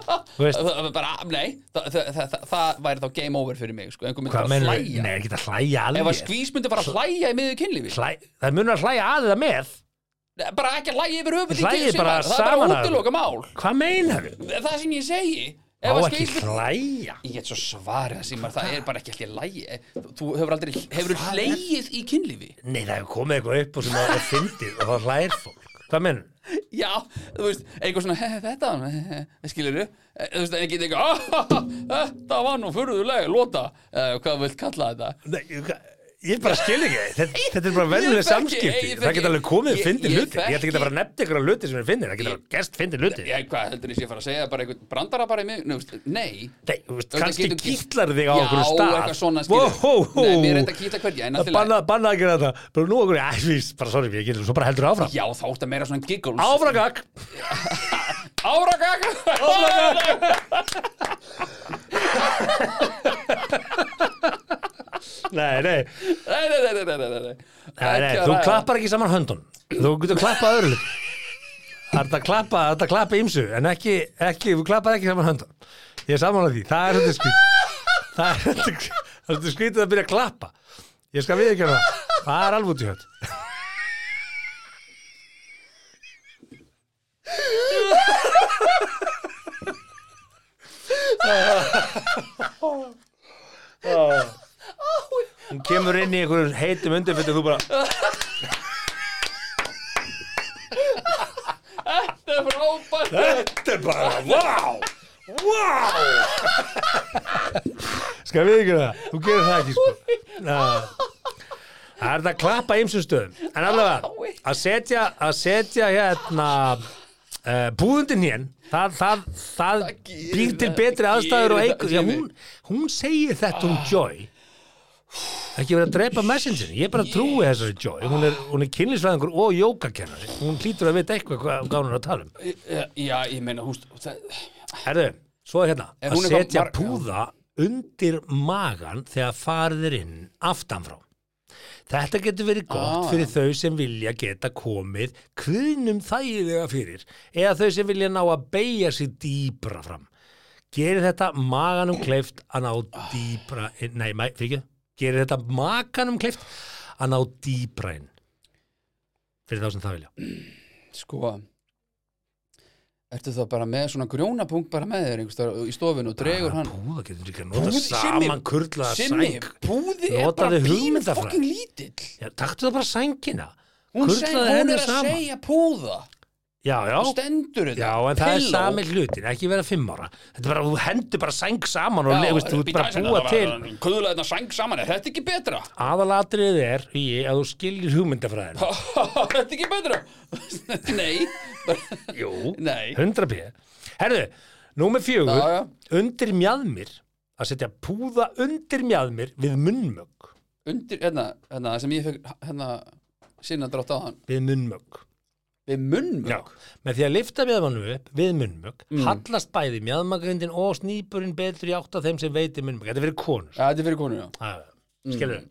gera? Þú veist, Það það- bara, "Ah, nei, það, það, það, það, það væri þá game over fyrir mig, sko, einhver myndi hvað bara að mennur? hlæja Nei, ekki að hlæja Ef að alveg. skvís myndi bara að hlæja í miðju kynlífi Hlæ, það munur að hlæja aðeða með. Nei, bara ekki að hlæja yfir höfuð í Hlæið kynlífi bara það er saman bara að- útiloka mál Hvað meinar þú? það er sem ég segi Ef Á að ekki skvís- hlæja. Ég get svo svarið það símar, það er bara ekki allir lægi Eh, Þú hefur aldrei, hefur hlegið í kynlífi Nei, það hefur komið eitthvað upp og sem það er fyndið og það hlægir fólk. Hvað meinar þú? Já, þú veist, eitthvað svona, he, he, þetta he, he, he, skilur þú, þú veist, en ekki eitthvað "Ah, ha, ha, þetta var nú furðulega lota, eða hvað þú vilt kalla þetta Nei, hvað- ég bara skil ekki. Þetta, þetta er bara Ég vennileg þekki- samskipti. ég það þekki- geta alveg komið ég- fyndið ég hluti. Ég ætla ekki að þekki- fara að nefna ykkur hluti sem er fyndið. Það geta Ég- alveg gerst fyndið hluti. Ég, hvað heldur þess ég fara að segja, bara eitthvað brandara bara í mig, nei, þú veist, nei Nei, þú veist, Þetta kannski getur- kýtlar þig á Já, okkur stað eitthvað svona, skilur. Wow. Nei, mér er þetta kýtla hverja, en allt í lagi. Banna, banna að gera þetta Bara nú okkur, æ, við, bara sorry, ég getur Svo bara heldur áfram Já, þá áttu meira svona giggles Áframgag Áragag Áragag Nei, nei, Nei, nei, nei, nei, nei, nei, nei. nei, nei Ekki að þú ræða. klappar ekki saman höndun Þú getur klappað öðru hlut Það er þetta að klappa, það er þetta að klappa ímsu En ekki, ekki, þú klappar ekki saman höndun Ég er saman að því, það er þetta skrýt Það er þetta það er svolítið skrýtið að byrja að klappa Ég skal við ekki hana Það er alveg út í hönd Hún kemur inn í einhverjum heitum undirfytt og þú bara Þetta er frábært Þetta er bara, wow Wow Skal við ekki það? Þú gerir það ekki sko Ná. Það er þetta að klappa ymsum stöðum En allavega, að setja að setja hérna uh, búðundin hér það, það, það, Það gerir býr til það, betri aðstæður og gerir eigur það, Já, Jimmy. hún, hún segir þetta um Joy ekki verið að drepa messengerin ég bara trúi þessari Joy hún er, hún er kynlisfræðingur og jókakennari hún hlýtur að vita eitthvað hvað hvað hún er að tala um Eh, Já, ég meina, húst það- Herðu, svo er hérna Er að hún eitthvað setja marg- púða undir magan þegar farið er inn aftanfrá. Þetta getur verið gott Ah. fyrir þau sem vilja geta komið kviðnum þægilega fyrir eða þau sem vilja ná að beigja sig dýbra fram. Gerir þetta maganum kleift að ná dýbra inn, nei, mæ, fyrir ekki, gerir þetta maganum kleift að ná dýbra inn fyrir þá sem það vilja. Sko Ertu þá bara með svona grjónapunkt bara með þér einhvers staðar í stofinu og dregur hann Púða getur líka Púð- nota Simmi, Ah, saman kurlaða Simmi, sæng. búði er bara Notaðu pínu hugmyndafræði. fokking lítill Já, taktu það bara sængina Hún, Kurlaðu seg, hún henni er að saman. segja púða Já, já, Hún stendur þetta já, en það er Pillow. sami hlutin, ekki vera fimm ára Þetta er bara, þú hendur bara sæng saman og Já, lefist, þú ert bíddu bara aðeins, að en búa það var- til Kuðla þetta sæng saman, er þetta ekki betra? Aðalatriðið er í að þú skiljir hugmyndafræðin er þetta ekki betra? Nei bara- Jú, Nei 100 p Herðu, númer fjögur Já, já. Undir mjadmir Að setja púða undir mjadmir við munnmögg Undir, hérna, hérna, sem ég fekk hérna, sinna drátt á hann Við munnmögg Við Já, munnmögg með því að lifta mjöðmannu upp við munnmögg, Mm. hallast bæði mjöðmagrindin og snýpurinn betur í átt að þeim sem veitir munnmögg. Þetta er fyrir konur. Já, þetta er fyrir konuna Ah, skilur mm.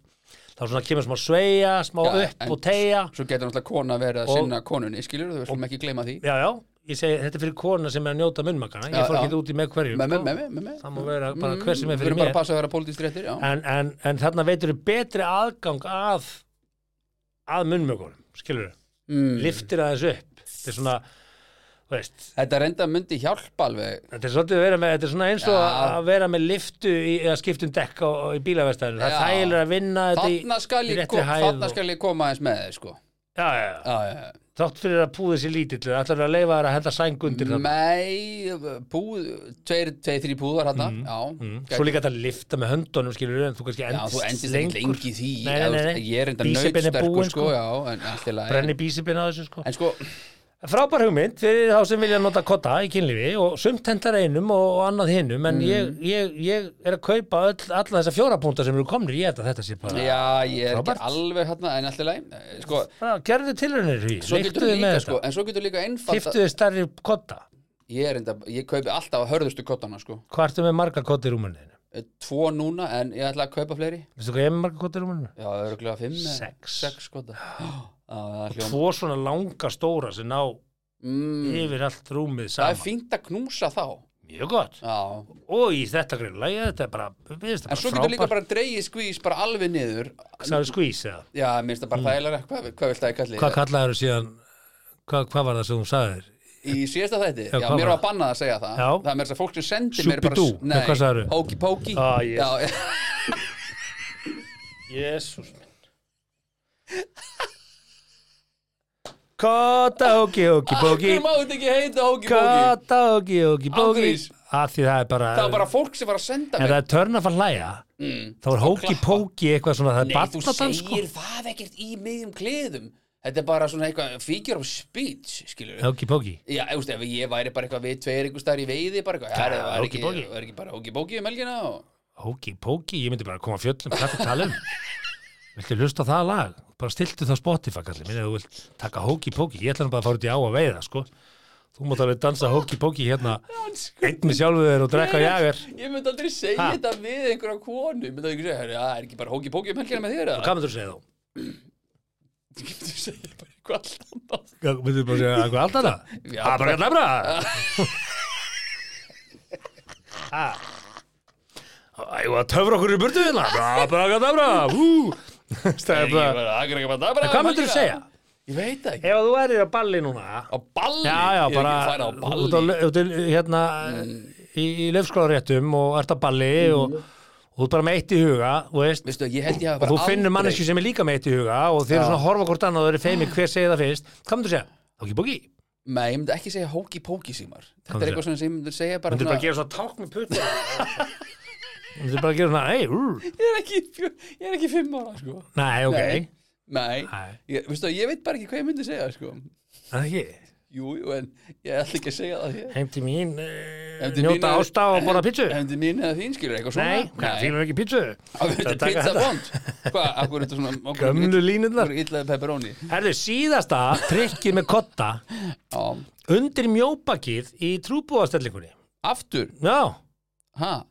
þá svona kemur smá sveia, smá Já, upp en- og teia Svo getur náttúrulega kona verið að Og- sinna konunni, skilur þú, við slum ekki gleyma því já, já, ég segi, þetta er fyrir kona sem er að njóta munnmakana, ég Já, fór já. ekki út í með hverju Með, með, sko. með, með, með það má vera bara hver sem er fyrir Við erum bara mér. að passa að vera pólitískt réttir, já en, en, en þarna veitur þau betri aðgang að að munnmökunum, skilur þau Mm. liftir aðeins upp þetta er svona, þú veist Þetta reynda myndi hjálpa alveg þetta er svolítið að vera með, þetta er svona eins og Já. að að vera með liftu í, að skiptum dekk á, á- í bílaverstæðinu, Já. það er þægilega að vinna þetta í, Þarna skal í ég, réttri kom, hæð þarna og- skal ég koma aðeins með þig, sko já, já, Já, já, já, já þátt fyrir að púðið sér lítill ætlar að leifa þær að henda sæng Mm. undir það Nei, púð, tveir, tveir, þrý púðar hérna Já, gæti- Mm, svo líka þetta að lifta með höndunum skilur en þú kannski Já, endist, þú endist ekki lengi í því nei, nei, nei, nei. Ég er enda Bísepinn er nautsterkur, búinn, sko, sko. já, en allt í lagi brenni bísipin að þessu sko En sko, frábær hugmynd fyrir þá sem vilja nota kotta í kynlífi og sumt hendar einum og, og annað hinum en ég, ég, ég er að kaupa öll, alla þessa fjórapúnta sem eru komnir ég held að þetta sé bara já, ég er ekki Frábært. alveg hérna En allt í lagi, sko Bara gerðu tilraunir í, Svo getur leiktuðu með líka, sko, þetta en svo getur líka einfalda kiftuðu stærri kotta Ég er enda, ég kaupi alltaf að hörðustu kottana, sko hvað ertu með marga kotta í rúmuninu? Eh, Tvo núna, en ég ætla að kaupa fleiri veistu hvað ég er með marga kotta í rúmuninu? Já, örgulega fimm eða Sex. Sex kotta Já, það er hljóm tvo svona langa stóra sem ná mm, yfir allt rúmið Það er saman fínt að knúsa þá mjög gott Já, og í þetta greinlega, þetta er bara, við veist En þetta svo bara getur líka frábært bara dreigið skvís bara alveg niður sagði skvís eða, Já, minnst það bara þægilega Hvað, hvað vilt það ég kalli? Mm. hvað kallaður síðan hvað, hvað var það sem þú sagðir Í síðasta þætti? Já, Já, hvað mér var var bannað að segja það Já. Það er mér þess að fólk sem sendi mér bara Shooby-doo. Nei, hvað sagðirðu? Nei, Póki Póki Ah, yes. Já, Jésús minn Kota hóki hóki bóki Akkur máðu þetta ekki heita Póki Póki Kota hóki hóki bóki Ángurís. að því það er bara, Það var bara fólk sem var að senda en mér það er törnaf að hlæja Mm. þá er hóki klappa. póki eitthvað svona það er Nei, þú segir barnadans sko það ekkert í miðjum kliðum Þetta er bara svona eitthvað figure of speech, skilur við hóki póki Já, þú veist, ef ég væri bara eitthvað við tveir einhvers staðar í veiði bara eitthvað, það Já, er ekki, ókei-pókei. var ekki bara ókibóki um helgina og hóki póki ég myndi bara koma að fjöllum hvað það tala um viltu hlusta á það lag bara stiltu það á Spotify kalli minni þú vilt taka hóki póki ég ætla nú bara að fara út í á að veiða sko þú mátt alveg dansa hóki póki hérna einn með sjálfu þér og drekka jager Sko, Ég myndi aldrei segja Ha? þetta við einhverja konu Ég myndi aldrei segja, "Herra, það er ekki bara hókibóki um helgina með þér Og eða?" Hvað myndir þú segja þá? Ég myndi segja bara eitthvað allt annað Hvað myndir þú bara segja eitthvað allt annað? Já, Það er bara- bara gæt lefra Ægú að töfra okkur í burtu hérna Það er bara gæt lefra Ég Það bara, "Það er ekki bara- það er bara- Hvað myndir þú helgina." segja? Ég veit það ekki Ef þú erir á balli núna Á balli? Já, já, Ég er bara ekki færa á Mm. balli út á lau- út í- hérna í, í löfskólaréttum og ert á balli Mm. og, og þú ert bara með eitt í huga þú veist, Veistu, ég held ég hafa og bara þú finnur mannesku sem er líka með eitt í huga og þeir Já. eru Ah. svona að horfa hvort annað og þeir eru feimir hver segir það fyrst Hvað myndir þú segja? Okki bóki Nei, ég myndi ekki segja hókibóki símar Þetta Hvað er eitthvað svona sem ég myndi segja bara Þú myndir bara svona- gera svona ták með putna Þú myndir bara gera svona, ei, úr Ég er ekki fjó- ég er ekki fimm ára, sko Nei, ok, Nei. Nei, Nei. Ég, veistu, ég veit bara ekki hvað ég myndi segja sko. það er ekki Jú, jú, en ég ætla ekki að segja það hér Heim til mín, Heim uh, til njóta mín er- ásta og borða pítsu Nei, Hefndi mín eða þín skilur eitthvað svona hvað, fílum við ekki pítsu Að Það Þetta er taka pizza þetta. bond Hvað, akkur er þetta svona okkur er Gömlu ill- línurnar okkur er Illa pepperoni Herðu, síðasta trikkið með kotta Já, undir mjóbakið í trúbúastellingunni aftur, Já, ha,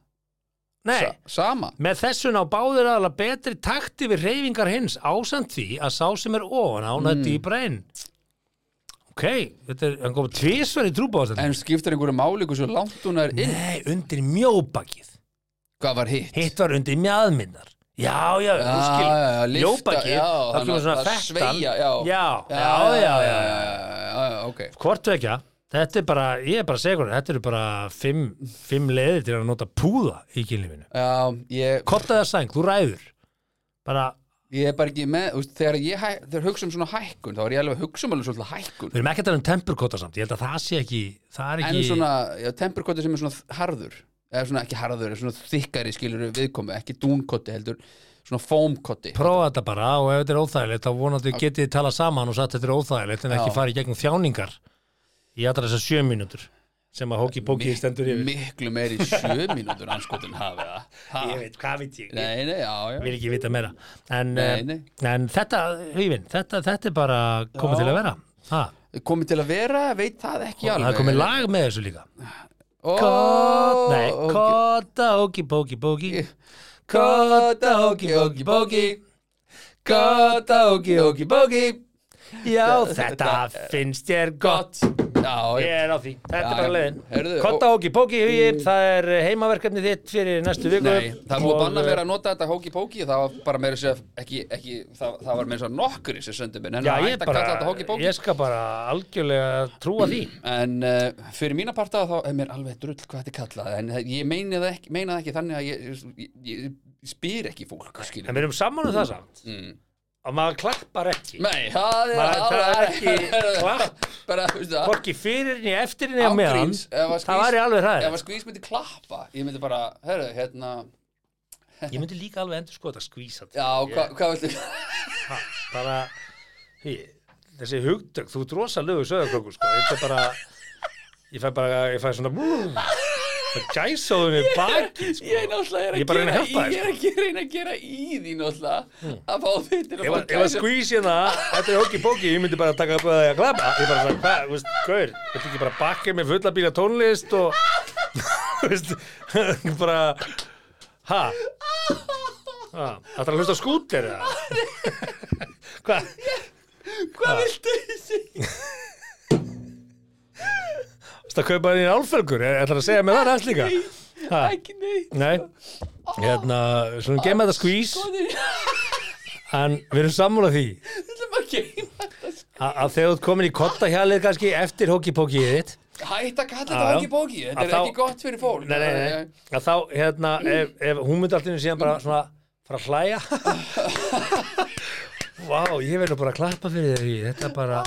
nei sa, sama Með þessu ná báðir aðla betri takti við reyfingar hins ásamt því að sá sem er ofan á Mm. náðu dýbra inn. Ok, þetta er, hann kom tvísvar í trúbáðastætti. En skiptir einhverju máli hversu langt hún er inn Nei, undir mjóbakið. Hvað var hitt? Hitt var undir mjaðminnar. Já, já, þú Já, skil, já, já, lyfta, mjóbakið, já, þá þannig kemur að svona það fettan. sveigja, já. já, já, já, já, já. já, já, ok Hvort vekja, þetta er bara, ég er bara segur, þetta eru bara fimm, fimm leiðir til að nota púða í kynlífinu. Já, ég, Kottaða sæng, þú ræður. Bara, ég er bara ekki með úst, Þegar ég hæ- þegar hugsa um svona hækkun þá er ég alveg að hugsa um alveg svolítið hækkun við erum ekki að tala um tempurkotta samt, ég held að það sé ekki, það er En ekki... svona, já, temperkotti sem er svona harður eða svona ekki harður, eða svona þykkari skilur viðkomi, ekki dúnkotti heldur svona fómkotti prófa þetta bara og ef þetta er óþægilegt þá vonandi getið þið talað saman og sagt þetta er óþægilegt en ekki Já. farið í gegnum þjáningar í allra þessar sjö mínútur sem að hóki bókið stendur yfir miklu meiri sjö mínútur anskotin hafið það Ha? ég veit, hvað veit ég, Nei, nei, já, ég já vil ekki vita meira en, Nei, eh, nei. en þetta, Hývin, þetta, þetta er bara komið til að vera ha, Komið til að vera, veit það ekki það alveg er komið lag með þessu líka Ó, Kota, nei, ok. kota, hóki, bóki, bóki Kota, hóki, hóki, hóki gott, ógi, ógi, bógi Já, þetta finnst þér gott Já, Ég já, er á því, þetta Já, er bara já. leiðin Heyrðu, Kotta Hóki Póki í hugið, það er heimaverkefni þitt fyrir næstu viku Nei, það er búið að Og, eh, banna mér að nota þetta hóki-póki það var bara meira sér ekki, ekki það, það var meira sér nokkur sem söndum minn en Já, það ég, hætti að bara, kalla þetta hóki-póki ég skal bara algjörlega trúa því en uh, fyrir mína parta þá er mér alveg drull hvað þetta er kallað en það- ég meina það ekki, meina það ekki þannig að ég, ég, ég, ég spyr ekki fólk En skilur. við erum saman um það samt Mm. Að maður klappar ekki Nei, það er, Maður- það er ekki klapp. bara, þú veist það Hvorki fyrir niður, eftir niður á meðan ángríns, ef að Það væri alveg Ef hræðið að skvís myndi klappa ég myndi bara, herru, hérna Ég myndi líka alveg endur skoða að skvísa já, hvað hva viltu Ha, bara hei, þessi hugdögg, þú ert rosalegu söðarkökur sko, þetta er bara ég fæ bara, ég fæ svona brúm, það gæsaðu mig baki sko. Ég er náttúrulega er að Ég er bara að reyna gera að hjálpa þér, sko. Hmm. Ég er ekki að reyna að gera í því náttúrulega að fá þau til að ef fá að- ef að gæsa- skvís hérna þetta er hóki bóki, ég myndi bara taka upp að það að glapa ég bara svona, hvað, þú veist, gaur þetta ekki bara bakið með fulla bíla tónlist og þú veist bara, ha Það er að hlusta á skútir eða? Hvað? Hvað viltu þessi? Það kaupa þín álfergur, ætlar að segja mér það næst líka? Ha? Ekki neitt Nei, hérna, svona gemma þetta skvís En við erum sammála því Þú ætlum að geima þetta sko. að, að þegar þú ert komin í kottahjalið kannski eftir hókipókið þitt Hætt sko. að kalla Já, já. þetta hóki bóki Þetta Að er þá- ekki gott fyrir fólk Nei, nei, nei, að þá, hérna, ef, ef hún myndi alltaf síðan bara svona fara að hlæja Vá, ég verður bara að klappa fyrir þér í þetta er bara,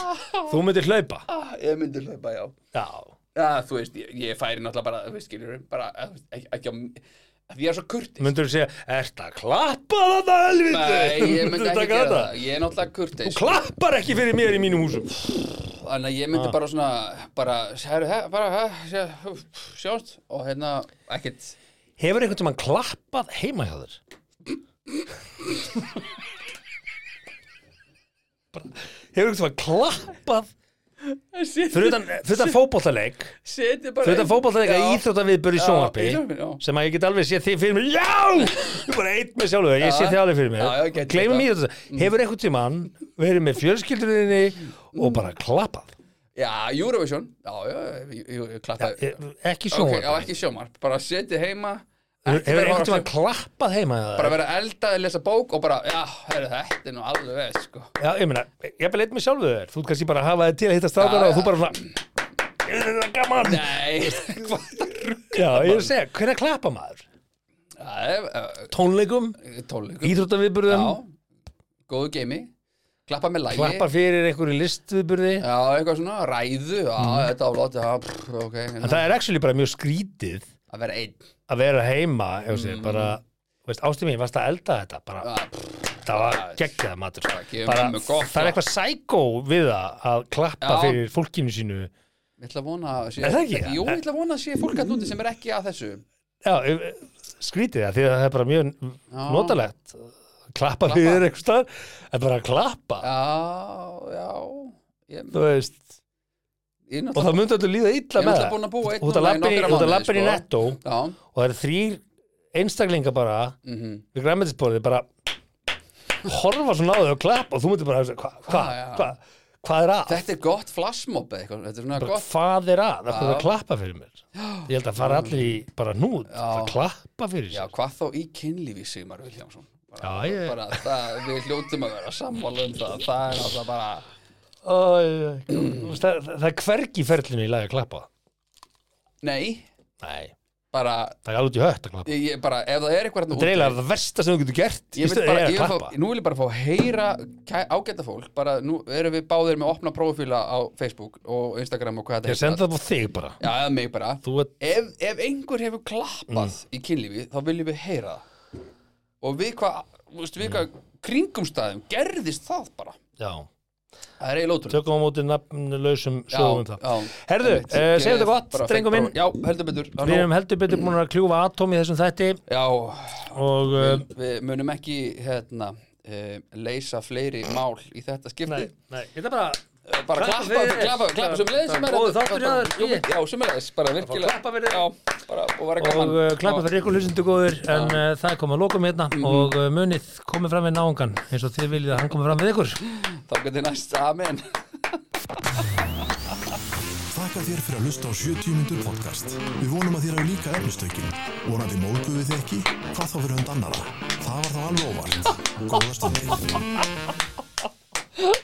þú myndir hlaupa Ah, Ég myndi hlaupa, já Já, Já, þú veist, ég, ég færi náttúrulega bara, þú veist, skiljur bara, eh, þú veist, ekki, ekki á að Því ég er svo kurtis myndir þú segja, ertu að klappa þetta helviti? Nei, ég myndi Taka ekki gera þetta? það Ég er náttúrulega kurtis klappar ekki fyrir mér í mínum húsum Þannig að ég Ah. myndi bara svona bara, heru, he, bara he, sjá, sjást og hérna, ekkert Hefur einhvern tímann klappað heima hjá þér? Bara- Hefur einhvern tímann klappað fyrir utan, fyrir utan fótbollaleik Setja bara fyrir utan fótbollaleik að íþróttaviðbör í Já, sjónvarpi í sjónvarpi, já. sem að ég get alveg séð þig fyrir mér Já! Ég er bara eitt með sjálfu þér, ég Já. sé þig alveg fyrir Já, já, mér gæti Gleimum þetta. Mm. íþrótta Hefur einhvern tímann verið með fjölskyldurinni og bara klappað Já, Eurovision Já, já, ég, ég, ég klappa E- Ok, já, Ekki sjónvarp ekki sjónvarp Bara setja heima ekki vera Hefur að einhvern horfa á tímann klappað heima hjá þér? bara vera eldað, lesa bók og bara, já, heyrðu, þetta er nú alveg sko. Já, ég meina, ég er leitt með sjálfu þér Þú ert kannski bara að hafa þið til að hitta strákara Já, og þú bara svona "Ég er það Gaman Nei, hvað það rugg Já, ég er að segja, hvernig klappa maður? Það er Tónleikum, uh, tónleikum íþróttaviðburðum Já, góðu geimi Klappa með lægi Klappa fyrir einhverju listviðburði Já, eitthvað svona, ræðu Já, Mhm. þetta áflótt, já, pff, ok En hérna. það er actually bara mjög skrítið Að vera einn að vera heima ef þú segir, bara, þú veist, ástum ég, varst að elda þetta bara, Mm. Já, pff, það var já, geggjað matur sko. það gefur bara, mömmu gott það er klapp. eitthvað sækó við það að klappa Já. fyrir fólkinu sínu Ég ætla að vona að sé, Er það ekki? Jú, ég ætla að vona að sé fólk að núti sem er ekki að þessu Já, ef- skrítið það, því að það er bara mjög Já. notalegt klappa fyrir þér einhvers staðar, en bara að klappa Já, já Ég, þú veist, ég er og náttúrulega það myndi alltaf líða Ég illa er með náttúrulega búin að búa einn Þú ert að núna í labbin í, nokkra þú ert að mánuði, labbin í sko. netto og Já, það eru þrýr einstaklingar bara mhm við græmmetisborðið bara horfa svona á þau og klappa og þú myndir bara hugsa, hva, hva, Já, já. hva, hvað er að? Þetta er gott flashmob eða eitthvað, þetta er svona Bara, gott Hvað er að? Það er Já. Mm. að klappa fyrir mér Ég held að fara allir í bara nút að klappa fyrir Já, sér hvað þá í kynlífi Sigmar Viljámsson bara, Já, ég- bara, það, Við hljótum að vera sammála um það Það er alltaf bara Æ, Þú veist, Það það er hvergi í ferlinu í lagi að klappa Nei, Nei, bara, það er alveg út í hött að klappa ég, ég bara Ef það er eitthvað hérna þarna Það er eiginlega það versta sem þú getur Ég gert í vil stöðu bara, er ég að vil klappa fá, nú vil ég bara fá að heyra kæ- ágæta fólk, bara nú erum við báðir með opna prófíla á Facebook og Instagram og hvað Ég þetta senda það á þig bara Já, eða mig bara Þú ert ef, ef einhver hefur klappað Mm. í kynlífi, þá viljum við heyra það og við hvað, þú veist, við hvað kringumstæðum gerðist það bara Já, Það er eiginlega ótrúlega tökum á móti nafnlausum sögum um það já, Herðu, einmitt. eh, Ég- segjum þetta gott, bara drengum fínt, minn. bara- Já, heldur betur Halló. Við erum heldur betur búin að kljúfa atóm í þessum þætti Já, og uh, við, við munum ekki hérna, um, leysa fleiri mál í þetta skipti nei, nei, þetta er bara bara Klappa klappa, fyrir. klappa, klappa sem leiðis sem er Góður þáttur hjá þér, Jú, Víðir. Já, sem leiðis, bara virkilega klappa fyrir eh, þér. Já, bara, og vera og gaman uh, klappa fyrir ykkur hlustundu góður en uh, það kom að lokum hérna Mhm. og uh, munið komið fram við náungan eins og þið viljið að hann komið fram við ykkur Þá getur næst, amen Þakka þér fyrir að hlusta á 70 mínútur podcast. Við vonum að þér hafi líka efnistökin. Vonandi móðguðu þið ekki, hvað þá fyrir hund annara. Það var þá alveg óvart. Góða stundir.